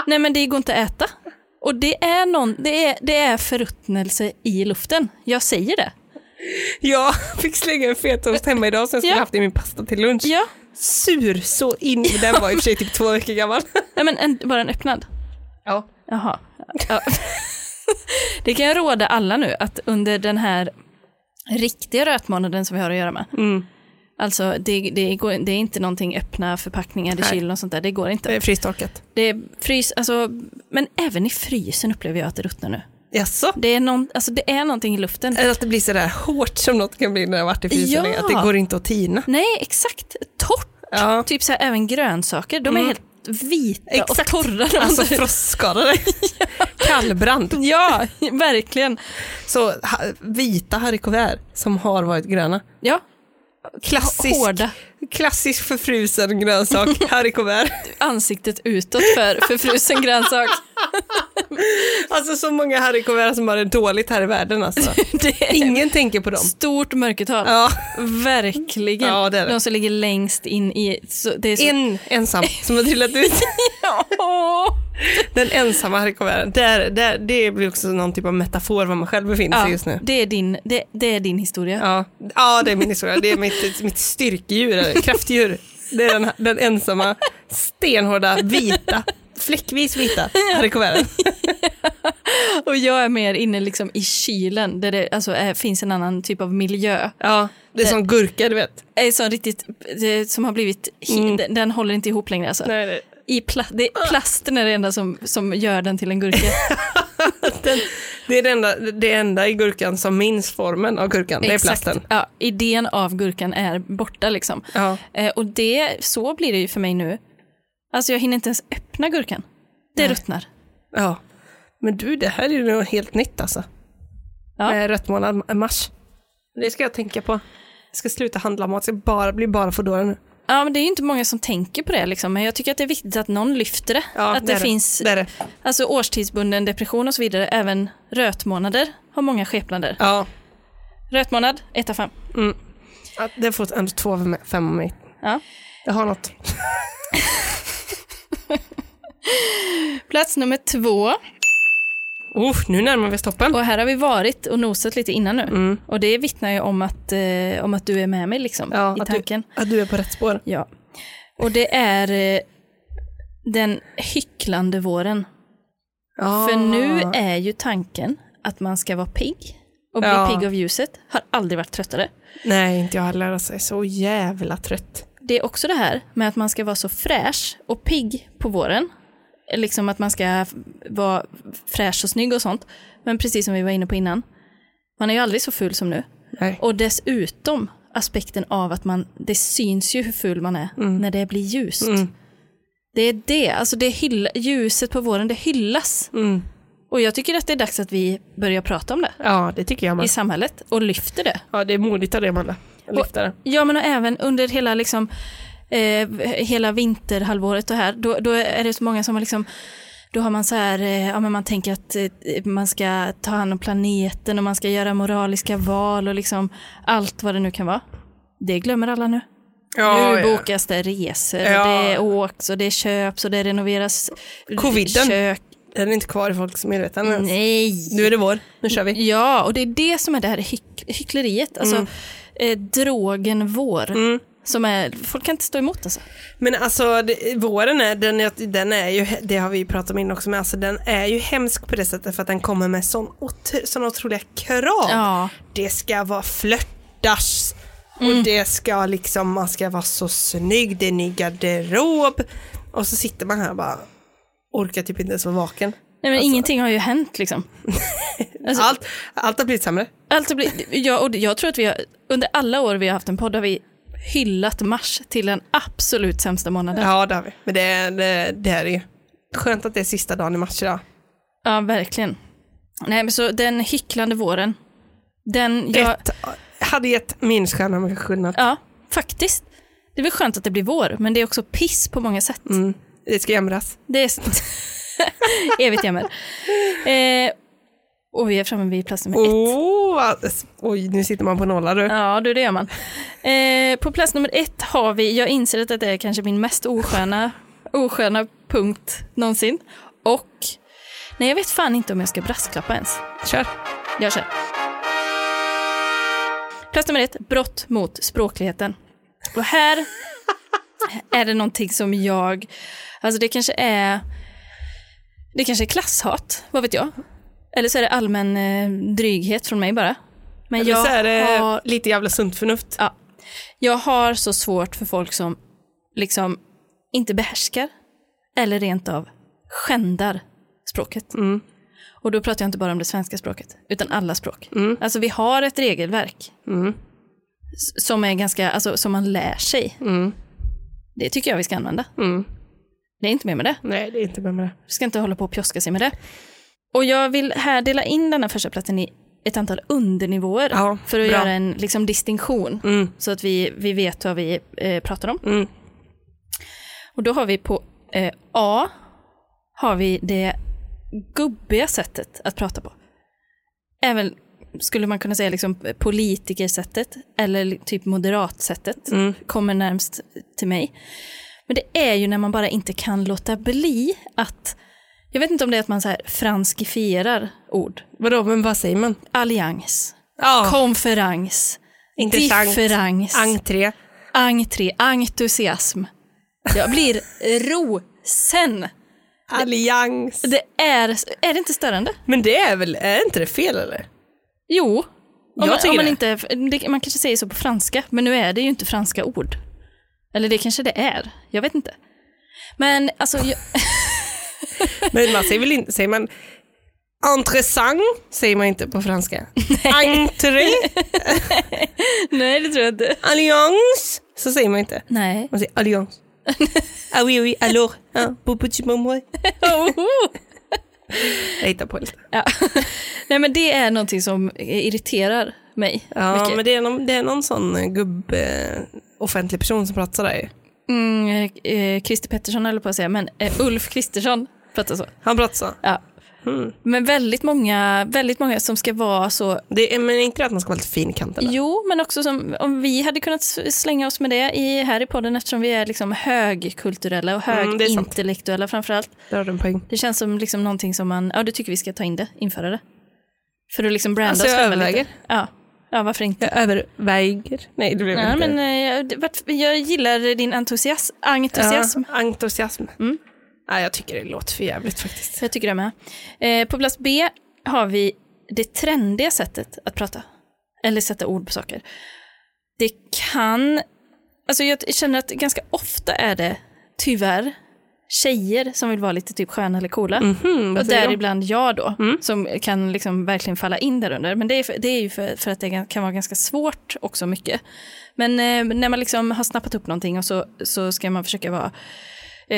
Speaker 1: Nej men det går inte att äta. Och det är, någon, det, är, det är förruttnelse i luften. Jag säger det.
Speaker 2: Jag fick slänga en fetaost hemma idag som jag skulle
Speaker 1: Ja.
Speaker 2: haft i min pasta till lunch.
Speaker 1: Ja,
Speaker 2: Sur så in i den var i och för sig typ två veckor gammal.
Speaker 1: Nej, men en, bara en öppnad.
Speaker 2: Ja.
Speaker 1: Jaha. Ja. det kan jag råda alla nu att under den här riktiga rötmånaden som vi har att göra med.
Speaker 2: Mm.
Speaker 1: Alltså det, det, går, det är inte någonting öppna förpackningar i
Speaker 2: Nej.
Speaker 1: kylen och sånt där. Det går inte.
Speaker 2: Det är frystorkat.
Speaker 1: Det är frys, alltså, men även i frysen upplever jag att det ruttnar nu.
Speaker 2: Jaså?
Speaker 1: Det är, någon, alltså, det är någonting i luften.
Speaker 2: Eller att det blir sådär hårt som något kan bli när det har varit i frysen
Speaker 1: Ja.
Speaker 2: länge, Att det går inte att tina.
Speaker 1: Nej, exakt. Torrt.
Speaker 2: Ja. Mm.
Speaker 1: Typ så här, även grönsaker. De är helt vita och
Speaker 2: Exakt.
Speaker 1: torra. när man
Speaker 2: Alltså
Speaker 1: tar ut-
Speaker 2: frostskadade. Kallbrand.
Speaker 1: ja, verkligen.
Speaker 2: Så ha, vita haricots som har varit gröna.
Speaker 1: Ja,
Speaker 2: Klassisk,
Speaker 1: hårda.
Speaker 2: klassisk förfrusen grönsak, haricots.
Speaker 1: ansiktet utåt för, för frusen grönsak.
Speaker 2: Alltså så många haricots som har det dåligt här i världen alltså.
Speaker 1: Det är
Speaker 2: Ingen tänker på dem.
Speaker 1: stort mörkertal.
Speaker 2: Ja.
Speaker 1: Verkligen.
Speaker 2: Ja, det är det.
Speaker 1: De som ligger längst in i... Så det är så,
Speaker 2: En ensam som har trillat ut.
Speaker 1: Åh.
Speaker 2: Den ensamma haricots. Där, där, det blir också någon typ av metafor var man själv befinner sig
Speaker 1: ja,
Speaker 2: just nu.
Speaker 1: det, är din, det, det är din historia.
Speaker 2: Ja. ja, det är min historia. Det är mitt, mitt styrkedjur, eller kraftdjur. Det är den, den ensamma, stenhårda, vita, fläckvis vita haricots.
Speaker 1: Och jag är mer inne liksom i kylen där det alltså, är, finns en annan typ av miljö.
Speaker 2: Ja, det är som gurka du vet.
Speaker 1: Är sån riktigt, det, som har blivit... hi- Den, den håller inte ihop längre alltså.
Speaker 2: Mm. Nej, Ah. det-
Speaker 1: I pla, det, plasten är det enda som, som gör den till en gurka.
Speaker 2: Det är det enda, det enda i gurkan som minns formen av gurkan, det är
Speaker 1: Exakt.
Speaker 2: plasten.
Speaker 1: Ja, idén av gurkan är borta liksom.
Speaker 2: Ja.
Speaker 1: Eh, och det, så blir det ju för mig nu. Alltså jag hinner inte ens öppna gurkan. Det ruttnar.
Speaker 2: ja. Men du, det här är ju något helt nytt alltså.
Speaker 1: Ja.
Speaker 2: Eh, Rött månad, mars. Det ska jag tänka på. Jag ska sluta handla mat, det ska bara bli bara Foodora nu.
Speaker 1: Ja, men det är ju inte många som tänker på det liksom. Men jag tycker att det är viktigt att någon lyfter det.
Speaker 2: Ja,
Speaker 1: att det,
Speaker 2: är
Speaker 1: finns
Speaker 2: Det är det.
Speaker 1: Alltså, årstidsbunden depression och så vidare. Även rötmånader har många skepnader.
Speaker 2: Ja.
Speaker 1: Rötmånad, 1 av 5.
Speaker 2: Ja, Det får ändå två av mig- fem av mig.
Speaker 1: Ja.
Speaker 2: Jag har något.
Speaker 1: Plats nummer två.
Speaker 2: Oh, nu närmar vi oss toppen.
Speaker 1: Och här har vi varit och nosat lite innan nu.
Speaker 2: Mm.
Speaker 1: Och det vittnar ju om att, eh, om att du är med mig liksom,
Speaker 2: Ja,
Speaker 1: i
Speaker 2: att
Speaker 1: tanken.
Speaker 2: Du, att du är på rätt spår.
Speaker 1: Ja. Och det är eh, den hycklande våren.
Speaker 2: Ja.
Speaker 1: För nu är ju tanken att man ska vara pigg och bli
Speaker 2: Ja.
Speaker 1: pigg av ljuset. Har aldrig varit tröttare.
Speaker 2: Nej, inte jag heller. Alltså, jag är så jävla trött.
Speaker 1: Det är också det här med att man ska vara så fräsch och pigg på våren. Liksom att man ska f- vara fräsch och snygg och sånt. Men precis som vi var inne på innan, man är ju aldrig så ful som nu.
Speaker 2: Nej.
Speaker 1: Och dessutom aspekten av att man, det syns ju hur ful man är när det blir ljust. Det är det, alltså det hyll, ljuset på våren, det hyllas.
Speaker 2: Mm.
Speaker 1: Och jag tycker att det är dags att vi börjar prata om det
Speaker 2: Ja, det tycker jag
Speaker 1: i
Speaker 2: med.
Speaker 1: samhället och lyfter det.
Speaker 2: Ja, det är modigt av dig, Amanda. att lyfta det.
Speaker 1: Ja, men och även under hela, liksom, eh, hela vinterhalvåret och här, då, då är det så många som har liksom då har man så här, eh, ja men man tänker att eh, man ska ta hand om planeten och man ska göra moraliska val och liksom allt vad det nu kan vara. Det glömmer alla nu.
Speaker 2: Ja,
Speaker 1: nu
Speaker 2: ja.
Speaker 1: bokas det resor,
Speaker 2: Ja.
Speaker 1: och det åks och det köps och det renoveras
Speaker 2: Coviden.
Speaker 1: kök.
Speaker 2: Den är inte kvar i folks medvetande ens.
Speaker 1: Nej.
Speaker 2: Nu är det vår, nu kör vi.
Speaker 1: Ja, och det är det som är det här hyck- hyckleriet. Alltså eh, drogen vår. Som är, folk kan inte stå emot alltså.
Speaker 2: Men alltså det, våren är, den, är- den är ju, det har vi ju pratat om innan också, men alltså den är ju hemsk på det sättet för att den kommer med sån otro, såna otroliga krav.
Speaker 1: Ja.
Speaker 2: Det ska vara flörtars
Speaker 1: Mm.
Speaker 2: och det ska liksom, man ska vara så snygg, det är ny garderob och så sitter man här och bara orkar typ inte ens vara vaken.
Speaker 1: Nej, men ingenting har ju hänt liksom. Alltså-
Speaker 2: Allt, allt har blivit sämre.
Speaker 1: Alltså, blir- jag, och jag tror att vi har, under alla år vi har haft en podd har vi hyllat mars till den absolut sämsta månaden. Ja,
Speaker 2: Ja det har vi, men det, är- det, det här är ju skönt att det är sista dagen i mars idag.
Speaker 1: verkligen. Nej, men så den hycklande våren. Den, jag,
Speaker 2: Ett, hade gett minusstjärna mycket skillnad.
Speaker 1: ja, faktiskt. Det är väl skönt att det blir vår, men det är också piss på många sätt.
Speaker 2: Mm. Det ska jämras.
Speaker 1: Det är evigt jammer. Eh, och vi är framme vid plats nummer ett.
Speaker 2: Oh, vad- oj, nu sitter man på nollar du.
Speaker 1: Ja, du, det gör man. Eh, på plats nummer ett har vi, jag inser att det är kanske min mest osköna, osköna punkt någonsin. Och Nej, jag vet fan inte om jag ska brasklappa ens.
Speaker 2: Kör.
Speaker 1: Jag kör. Plats nummer ett, brott mot språkligheten. Och här är det någonting som jag, alltså det kanske är, det kanske är klasshat, vad vet jag. Eller så är det allmän eh, dryghet från mig bara. Men
Speaker 2: Eller
Speaker 1: jag
Speaker 2: så är det
Speaker 1: har,
Speaker 2: lite jävla sunt förnuft.
Speaker 1: ja, jag har så svårt för folk som liksom inte behärskar eller rent av skändar språket. Och då pratar jag inte bara om det svenska språket, utan alla språk. Alltså vi har ett regelverk s- som är ganska, alltså som man lär sig. Det tycker jag vi ska använda. Det är inte mer med det.
Speaker 2: Nej, det är inte med mig.
Speaker 1: Vi ska inte hålla på och pjoska sig med det. Och jag vill här dela in den här första platsen i ett antal undernivåer
Speaker 2: Ja,
Speaker 1: för att
Speaker 2: bra.
Speaker 1: göra en liksom, distinktion så att vi, vi vet vad vi eh, pratar om.
Speaker 2: Mm.
Speaker 1: Och då har vi på eh, A har vi det gubbiga sättet att prata på. Även skulle man kunna säga liksom politikersättet eller typ moderatsättet
Speaker 2: Mm.
Speaker 1: kommer närmst till mig. Men det är ju när man bara inte kan låta bli att, jag vet inte om det är att man så här franskifierar ord.
Speaker 2: Vadå, men vad säger man?
Speaker 1: Allians,
Speaker 2: Ja,
Speaker 1: konferens,
Speaker 2: Intressant.
Speaker 1: differens,
Speaker 2: entré.
Speaker 1: entré, entusiasm. Jag blir rosen.
Speaker 2: Allians.
Speaker 1: Det är, är det inte störande?
Speaker 2: Men det är väl, är inte det fel eller?
Speaker 1: Jo. Om,
Speaker 2: Jag
Speaker 1: man,
Speaker 2: tycker
Speaker 1: om man,
Speaker 2: det.
Speaker 1: inte, det, man kanske säger så på franska, men nu är det ju inte franska ord. Eller det kanske det är, jag vet inte. Men alltså, jag,
Speaker 2: Men man säger väl inte, säger man intressant säger man inte på franska. Entré,
Speaker 1: nej det tror jag inte.
Speaker 2: allians, så säger man inte.
Speaker 1: Nej.
Speaker 2: Man säger allians. ah oui, oui, alors, hein, beau petit moment.
Speaker 1: Oho.
Speaker 2: Jag hittar på lite.
Speaker 1: ja. Nej men det är någonting som irriterar mig
Speaker 2: Ja,
Speaker 1: mycket.
Speaker 2: men det är någon, det är någon sån eh, gubb, eh, offentlig person som pratar sådär ju.
Speaker 1: Mm, eh, eh, Christer Pettersson höll jag på att säga, men eh, Ulf Kristersson pratar så.
Speaker 2: Han pratar så.
Speaker 1: Ja.
Speaker 2: Mm.
Speaker 1: Men väldigt många, väldigt många som ska vara så
Speaker 2: Det är, men inte att man ska vara lite fin i kanten.
Speaker 1: Jo, men också som, om vi hade kunnat s- slänga oss med det i, här i podden eftersom vi är liksom högkulturella och
Speaker 2: Mm, det är sant.
Speaker 1: högintellektuella framförallt.
Speaker 2: Där har du en poäng.
Speaker 1: Det känns som liksom någonting som man, ja du tycker vi ska ta in det, införa det. För att liksom branda
Speaker 2: Alltså,
Speaker 1: oss
Speaker 2: jag
Speaker 1: själva
Speaker 2: överväger.
Speaker 1: lite. Ja. ja, varför inte?
Speaker 2: Jag överväger. Nej, det blev
Speaker 1: Ja,
Speaker 2: inte.
Speaker 1: men, eh, jag, det- vart- jag gillar din entusiasm. entusiasm.
Speaker 2: Ja, entusiasm.
Speaker 1: Mm.
Speaker 2: Nej, jag tycker det låter för jävligt faktiskt.
Speaker 1: Jag tycker det med. Eh, på plats B har vi det trendiga sättet att prata. Eller sätta ord på saker. Det kan... Alltså jag känner att ganska ofta är det, tyvärr, tjejer som vill vara lite typ sköna eller coola. och däribland jag då, som kan liksom verkligen falla in där under. Men det är, för, det är ju för, för att det gan- kan vara ganska svårt också mycket. Men eh, när man liksom har snappat upp någonting och så, så ska man försöka vara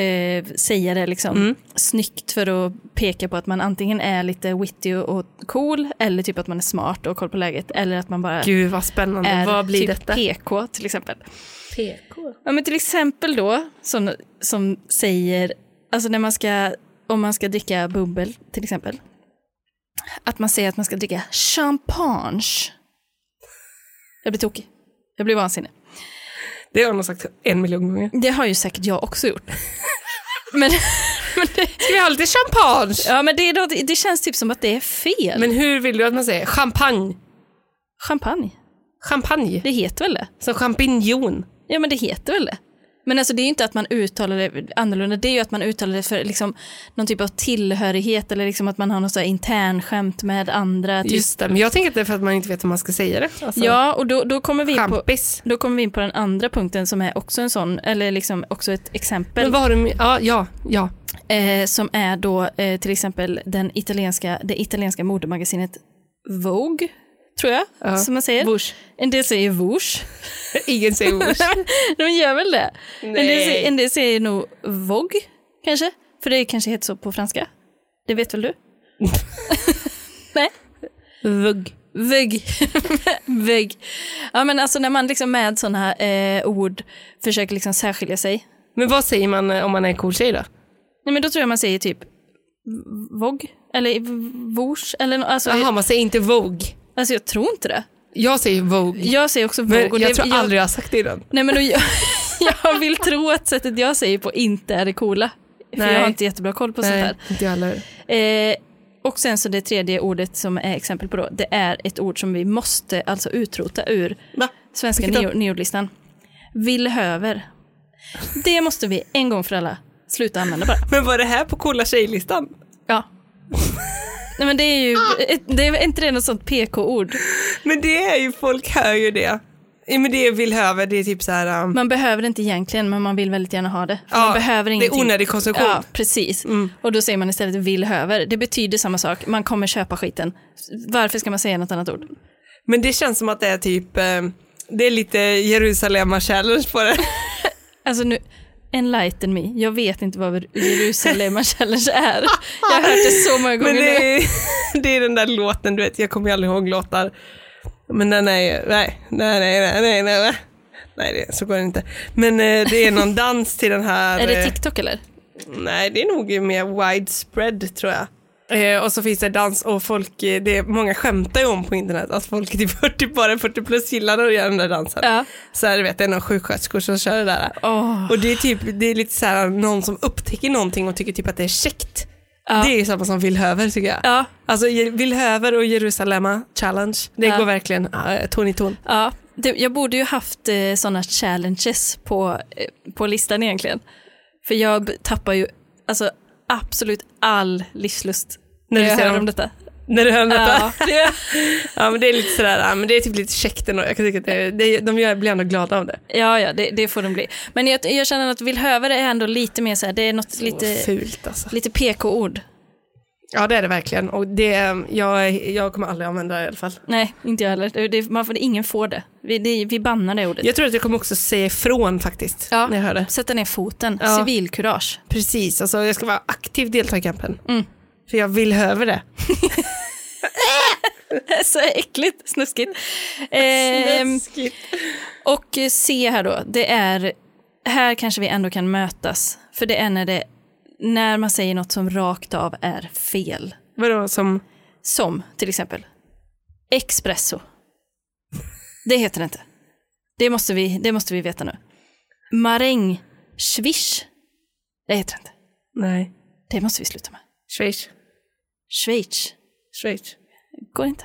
Speaker 1: eh, säga det liksom snyggt för att peka på att man antingen är lite witty och cool eller typ att man är smart och har koll på läget eller att man bara
Speaker 2: Gud vad spännande.
Speaker 1: är
Speaker 2: vad blir
Speaker 1: typ
Speaker 2: detta?
Speaker 1: PK till exempel. Ja, men till exempel då, som, som säger, alltså när man ska, om man ska dricka bubbel till exempel, att man säger att man ska dricka champagne. Jag blir tokig. Jag blir vansinnig.
Speaker 2: Det har någon sagt en miljon gånger.
Speaker 1: Det har ju säkert jag också gjort. men, men, det,
Speaker 2: Ska vi ha lite champagne?
Speaker 1: ja, men det, är då- det, det känns typ som att det är fel.
Speaker 2: Men hur vill du att man säger? Champagne.
Speaker 1: Champagne,
Speaker 2: Champagne.
Speaker 1: det heter väl det?
Speaker 2: Som champinjon.
Speaker 1: Ja, men det heter väl det? Men alltså det är ju inte att man uttalar det annorlunda, det är ju att man uttalar det för liksom någon typ av tillhörighet eller liksom att man har något så här internskämt med andra. Typ.
Speaker 2: Just det, men jag tänker att det är för att man inte vet hur man ska säga det. Alltså,
Speaker 1: Ja, och då, då, kommer vi in på,
Speaker 2: Champis.
Speaker 1: då kommer vi in på den andra punkten som är också en sån, eller liksom också ett exempel.
Speaker 2: Men vad har du med? Ja, ja, ja.
Speaker 1: Eh, som är då eh, till exempel den italienska, det italienska modemagasinet Vogue, tror jag,
Speaker 2: Ja.
Speaker 1: som man säger.
Speaker 2: Vurs.
Speaker 1: En del säger Vogue.
Speaker 2: Ingen säger vurs.
Speaker 1: De gör väl det? En del,
Speaker 2: Nej.
Speaker 1: säger, en del säger nog Vogue, kanske. För det kanske heter så på franska. Det vet väl du? Nej?
Speaker 2: Vugg.
Speaker 1: Vägg. Vägg. Ja, men alltså när man liksom med sådana eh, ord försöker liksom särskilja sig.
Speaker 2: Men vad säger man eh, om man är en cool tjej då?
Speaker 1: Nej, men då tror jag man säger typ Vogue eller Vors. Eller, nå- alltså,
Speaker 2: Jaha, man säger inte Vogue.
Speaker 1: alltså jag tror inte det.
Speaker 2: Jag säger Vogue.
Speaker 1: Jag säger också Vogue.
Speaker 2: Men
Speaker 1: och
Speaker 2: jag
Speaker 1: det,
Speaker 2: tror aldrig jag har sagt det innan.
Speaker 1: Nej, men och jag, jag vill tro att sättet jag säger på inte är det coola. För
Speaker 2: Nej.
Speaker 1: jag har inte jättebra koll på sånt här.
Speaker 2: inte jag heller.
Speaker 1: Eh, och sen så det tredje ordet som är exempel på då, det är ett ord som vi måste alltså utrota ur
Speaker 2: Va?
Speaker 1: svenska
Speaker 2: Vilket då?
Speaker 1: neo- neordlistan. Villhöver. Det måste vi en gång för alla sluta använda bara.
Speaker 2: Men var det här på coola tjejlistan?
Speaker 1: Ja. Nej men det är ju, det är inte det något sånt PK-ord?
Speaker 2: Men det är ju, folk hör ju det. Ja, Men det är Villhöver, det är typ så här... Um,
Speaker 1: Man behöver det inte egentligen men man vill väldigt gärna ha det. För
Speaker 2: ja,
Speaker 1: man behöver ingenting.
Speaker 2: Det är onödig konsumtion. Mm.
Speaker 1: Ja, precis. Och då säger man istället villhöver. Det betyder samma sak, man kommer köpa skiten. Varför ska man säga något annat ord?
Speaker 2: Men det känns som att det är typ... eh, det är lite Jerusalem-challenge på det.
Speaker 1: Alltså nu, enlighten me. Jag vet inte vad Jerusalem Challenge är. Jag har hört det så många gånger
Speaker 2: Men
Speaker 1: nu.
Speaker 2: det är, det är den där låten, du vet, jag kommer ju aldrig ihåg låtar. Men den är ju, nej, nej, nej, nej, nej, nej, nej. Nej, det, så går det inte. Men eh, det är någon dans till den här...
Speaker 1: Är det
Speaker 2: eh,
Speaker 1: TikTok eller?
Speaker 2: Nej, det är nog mer widespread tror jag. Eh, och så finns det dans och folk, eh, det är, många skämtar ju om på internet att folk i 40, bara 40 plus gillar att göra den där dansen.
Speaker 1: Ja.
Speaker 2: Så här, du vet, det är någon sjuksköterskor som kör det där.
Speaker 1: Åh.
Speaker 2: Och det är typ, det är lite så här någon som upptäcker någonting och tycker typ att det är käckt.
Speaker 1: Ja.
Speaker 2: Det är ju samma som Villhöver tycker jag.
Speaker 1: Ja,
Speaker 2: Alltså Je- Villhöver och Jerusalem challenge, det
Speaker 1: Ja.
Speaker 2: går verkligen eh, ton i ton.
Speaker 1: ja. Du, jag borde ju haft eh, sådana challenges på, eh, på listan egentligen. För jag b- tappar ju alltså, absolut all livslust
Speaker 2: När
Speaker 1: när
Speaker 2: du
Speaker 1: jag
Speaker 2: ser
Speaker 1: hör
Speaker 2: dem.
Speaker 1: om detta.
Speaker 2: När du hör detta.
Speaker 1: Ja, det,
Speaker 2: Ja men det är lite sådär, ja, men det är typ lite käckt ändå. Jag kan tycka att det, det, de gör- blir ändå glada av det.
Speaker 1: ja, ja det, det får de bli. Men jag, jag känner att villhöver är ändå lite mer så här, det är något
Speaker 2: Åh,
Speaker 1: lite,
Speaker 2: fult alltså.
Speaker 1: lite PK-ord.
Speaker 2: Ja det är det verkligen och det, jag, jag kommer aldrig använda det i alla fall.
Speaker 1: Nej, inte jag heller. Det, det, man får, ingen får det. Vi, det, vi bannar det ordet.
Speaker 2: Jag tror att jag kommer också säga ifrån faktiskt
Speaker 1: Ja.
Speaker 2: när jag hör det.
Speaker 1: Sätta ner foten.
Speaker 2: Ja.
Speaker 1: Civilkurage.
Speaker 2: Precis, alltså jag ska vara aktiv delta i kampen.
Speaker 1: Mm.
Speaker 2: För jag vill höra det.
Speaker 1: Så äckligt, snuskigt. Ehm, och eh, se här då, det är, här kanske vi ändå kan mötas. För det är när, det, när man säger något som rakt av är fel.
Speaker 2: Vadå som,
Speaker 1: Som till exempel espresso. Det heter det inte. Det måste vi, det måste vi veta nu. Maräng, swish. Det heter det inte.
Speaker 2: nej,
Speaker 1: Det måste vi sluta med.
Speaker 2: Schweiz,
Speaker 1: Schweiz.
Speaker 2: Schweiz.
Speaker 1: Går inte.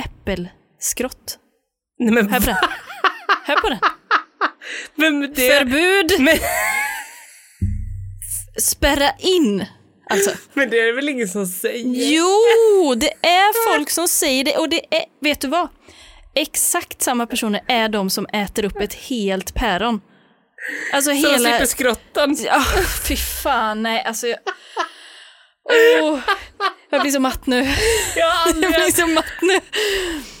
Speaker 1: Äppelskrott.
Speaker 2: Nej men,
Speaker 1: Hör på den. Hör på den.
Speaker 2: men det,
Speaker 1: Förbud!
Speaker 2: men,
Speaker 1: Spärra in! Alltså.
Speaker 2: men det är det väl ingen som säger?
Speaker 1: Jo, det är folk som säger det och det är, vet du vad? Exakt samma personer är de som äter upp ett helt päron. Alltså
Speaker 2: Så de
Speaker 1: hela...
Speaker 2: slipper skrottan.
Speaker 1: Ja, fy fan, nej alltså jag... Åh, jag blir så matt nu.
Speaker 2: Jag har aldrig
Speaker 1: Jag blir
Speaker 2: haft
Speaker 1: så matt nu.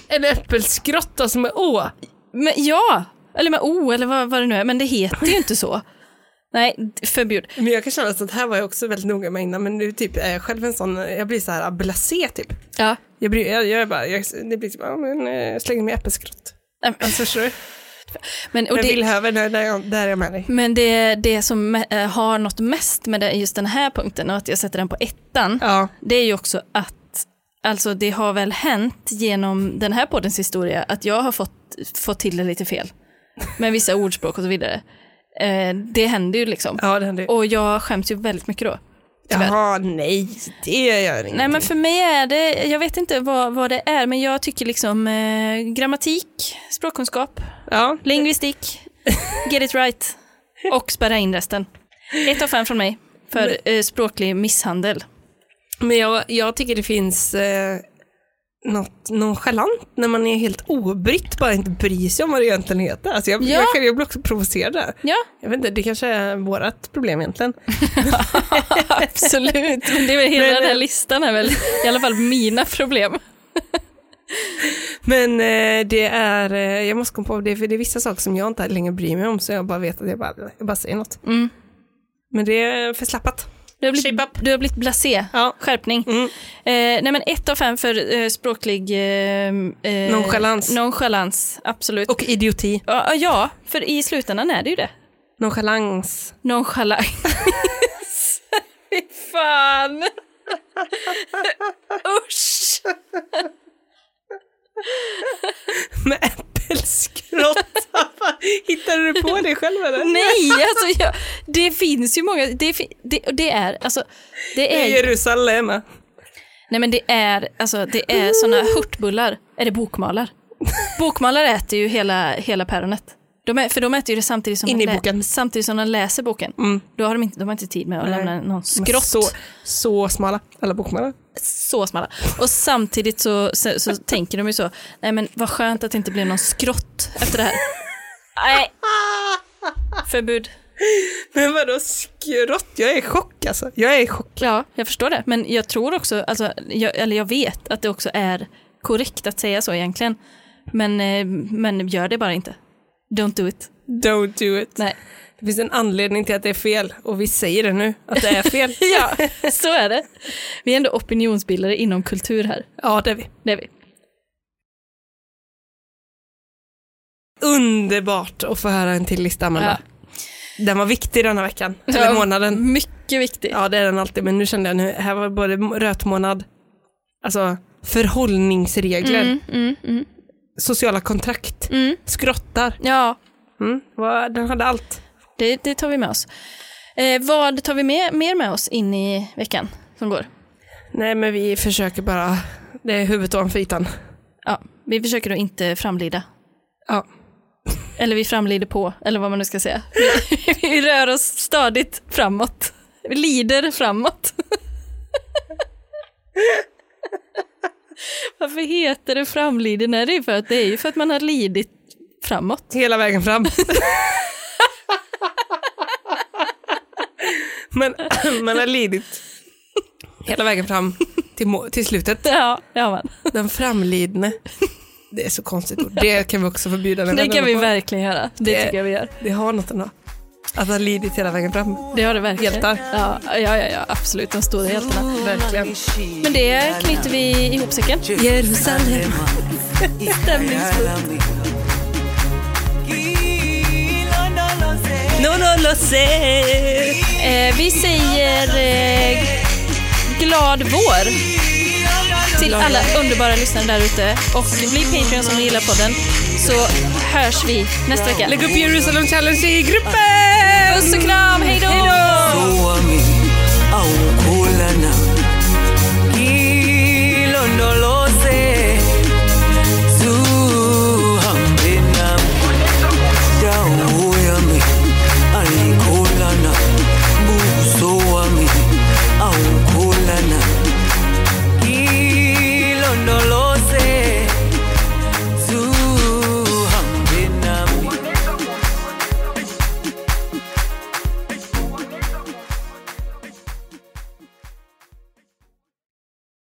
Speaker 2: en äppelskrotta som är å.
Speaker 1: Men ja, eller med O eller vad, vad det nu är, men det heter ju inte så. Nej, förbjud.
Speaker 2: Men jag kan känna att det här var jag också väldigt noga med innan men nu typ är jag själv en sån, jag blir så här blasé typ.
Speaker 1: Ja.
Speaker 2: Jag, blir, jag, jag är bara, jag, det blir typ, ja men eh, släng med äppelskrott.
Speaker 1: Nej, men-
Speaker 2: Alltså förstår du?
Speaker 1: Men, och det,
Speaker 2: Men Villhöver, där, där, är jag- där är jag med dig.
Speaker 1: men det, det som eh, har något mest med det, just den här punkten och att jag sätter den på ettan,
Speaker 2: Ja.
Speaker 1: det är ju också att alltså det har väl hänt genom den här poddens historia att jag har fått, fått till det lite fel med vissa ordspråk och så vidare. Eh, det händer ju liksom.
Speaker 2: Ja, det händer ju.
Speaker 1: Och jag skäms ju väldigt mycket då. tyvärr.
Speaker 2: Jaha, nej, det gör ingenting.
Speaker 1: Nej men för mig är det, jag vet inte vad, vad det är, men jag tycker liksom eh, grammatik, språkkunskap,
Speaker 2: Ja,
Speaker 1: lingvistik, get it right och spärra in resten. Ett av fem från mig för eh, språklig misshandel.
Speaker 2: men jag, jag tycker det finns eh, något nonchalant när man är helt obrytt, bara inte bryr sig om vad det egentligen heter. Alltså jag,
Speaker 1: Ja.
Speaker 2: jag, kan- jag blir också provocerad. där.
Speaker 1: Ja,
Speaker 2: Jag vet inte, det kanske är vårt problem egentligen.
Speaker 1: absolut. Men det är väl hela
Speaker 2: Men,
Speaker 1: den här
Speaker 2: eh,
Speaker 1: listan är väl i alla fall mina problem.
Speaker 2: Men eh, det är, eh, jag måste komma på det, för det är vissa saker som jag inte längre bryr mig om så jag bara vet att jag bara, jag bara säger något.
Speaker 1: Mm.
Speaker 2: Men det är förslappat.
Speaker 1: Du har
Speaker 2: Shape
Speaker 1: blivit,
Speaker 2: up.
Speaker 1: du har blivit blasé.
Speaker 2: Ja.
Speaker 1: Skärpning.
Speaker 2: Mm.
Speaker 1: Eh, nej men ett av fem för eh, språklig... Eh, eh,
Speaker 2: Nonchalans.
Speaker 1: Nonchalans, absolut.
Speaker 2: Och idioti.
Speaker 1: Ja, ja, för i slutändan är det ju det.
Speaker 2: Nonchalans.
Speaker 1: Nonchalans. Fy fan. Usch.
Speaker 2: Med äppelskrotta. Hittade du på det själv eller?
Speaker 1: Nej, alltså jag, det finns ju många. Det, fi- det, och det är, alltså, det
Speaker 2: Det är
Speaker 1: är,
Speaker 2: Jerusalem. Mm.
Speaker 1: Nej men det är, alltså, det är såna hurtbullar, är det bokmalar? Bokmalare äter ju hela, hela päronet. De är, för de äter ju det samtidigt som,
Speaker 2: In
Speaker 1: de,
Speaker 2: i
Speaker 1: lä-
Speaker 2: boken.
Speaker 1: samtidigt som de läser boken. Då har de inte, de har inte tid med att lämna någon skrott.
Speaker 2: Så,
Speaker 1: Så,
Speaker 2: så smala, alla bokmalar.
Speaker 1: smala. Och samtidigt så, så, så tänker de ju så, nej men vad skönt att det inte blev någon skrott efter det här. Nej. Förbud.
Speaker 2: Men vadå skrott? Jag är i chock alltså. Jag är i chock.
Speaker 1: Ja, jag förstår det. Men jag tror också, alltså, jag, eller jag vet att det också är korrekt att säga så egentligen. Men, eh, men gör det bara inte. Don't do it.
Speaker 2: Don't do it.
Speaker 1: Nej.
Speaker 2: Det finns en anledning till att det är fel och vi säger det nu, att det är fel.
Speaker 1: Ja, så är det. Vi är ändå opinionsbildare inom kultur här.
Speaker 2: ja, det är vi.
Speaker 1: Det är vi.
Speaker 2: Underbart att få höra en till lista, Amanda. Den var viktig denna veckan, eller
Speaker 1: Ja,
Speaker 2: månaden.
Speaker 1: Mycket viktigt.
Speaker 2: Ja, det är den alltid, men nu kände jag nu, här var både rötmånad, alltså förhållningsregler,
Speaker 1: Mm, mm, mm,
Speaker 2: sociala kontrakt,
Speaker 1: mm.
Speaker 2: skrottar.
Speaker 1: Ja,
Speaker 2: Mm. vad- Den hade allt.
Speaker 1: det, det tar vi med oss. Eh, vad tar vi med, mer med oss in i veckan som går?
Speaker 2: Nej, men vi försöker bara, det är huvudet ovanför ytan.
Speaker 1: Ja, vi försöker att inte framlida.
Speaker 2: Ja.
Speaker 1: Eller vi framlider på, eller vad man nu ska säga. Vi, vi rör oss stadigt framåt. Vi lider framåt. Varför heter det framlider? Nej, det är, för att, det är ju för att man har lidit framåt.
Speaker 2: Hela vägen fram. men man har lidit hela vägen fram till, må- till slutet.
Speaker 1: Ja, det har man.
Speaker 2: Den framlidne. Det är så konstigt ord. Det kan vi också förbjuda. den
Speaker 1: Det
Speaker 2: vännen
Speaker 1: kan vi
Speaker 2: på.
Speaker 1: verkligen göra. Det
Speaker 2: Det-
Speaker 1: tycker jag vi gör.
Speaker 2: Det har något ändå. Att ha lidit hela vägen fram.
Speaker 1: Det har det verkligen.
Speaker 2: Hjältar.
Speaker 1: Ja, ja, ja, ja absolut. De stora hjältarna.
Speaker 2: Verkligen.
Speaker 1: Men det knyter vi ihop säcken.
Speaker 2: Jerusalem.
Speaker 4: Stämningsfullt.
Speaker 2: No, no, lo sé.
Speaker 1: Eh, vi säger eh, glad vår till alla underbara lyssnare där ute. Och bli Patreon om ni gillar podden så hörs vi nästa vecka.
Speaker 2: Lägg upp Jerusalem Challenge i gruppen!
Speaker 1: Puss och kram, hej då!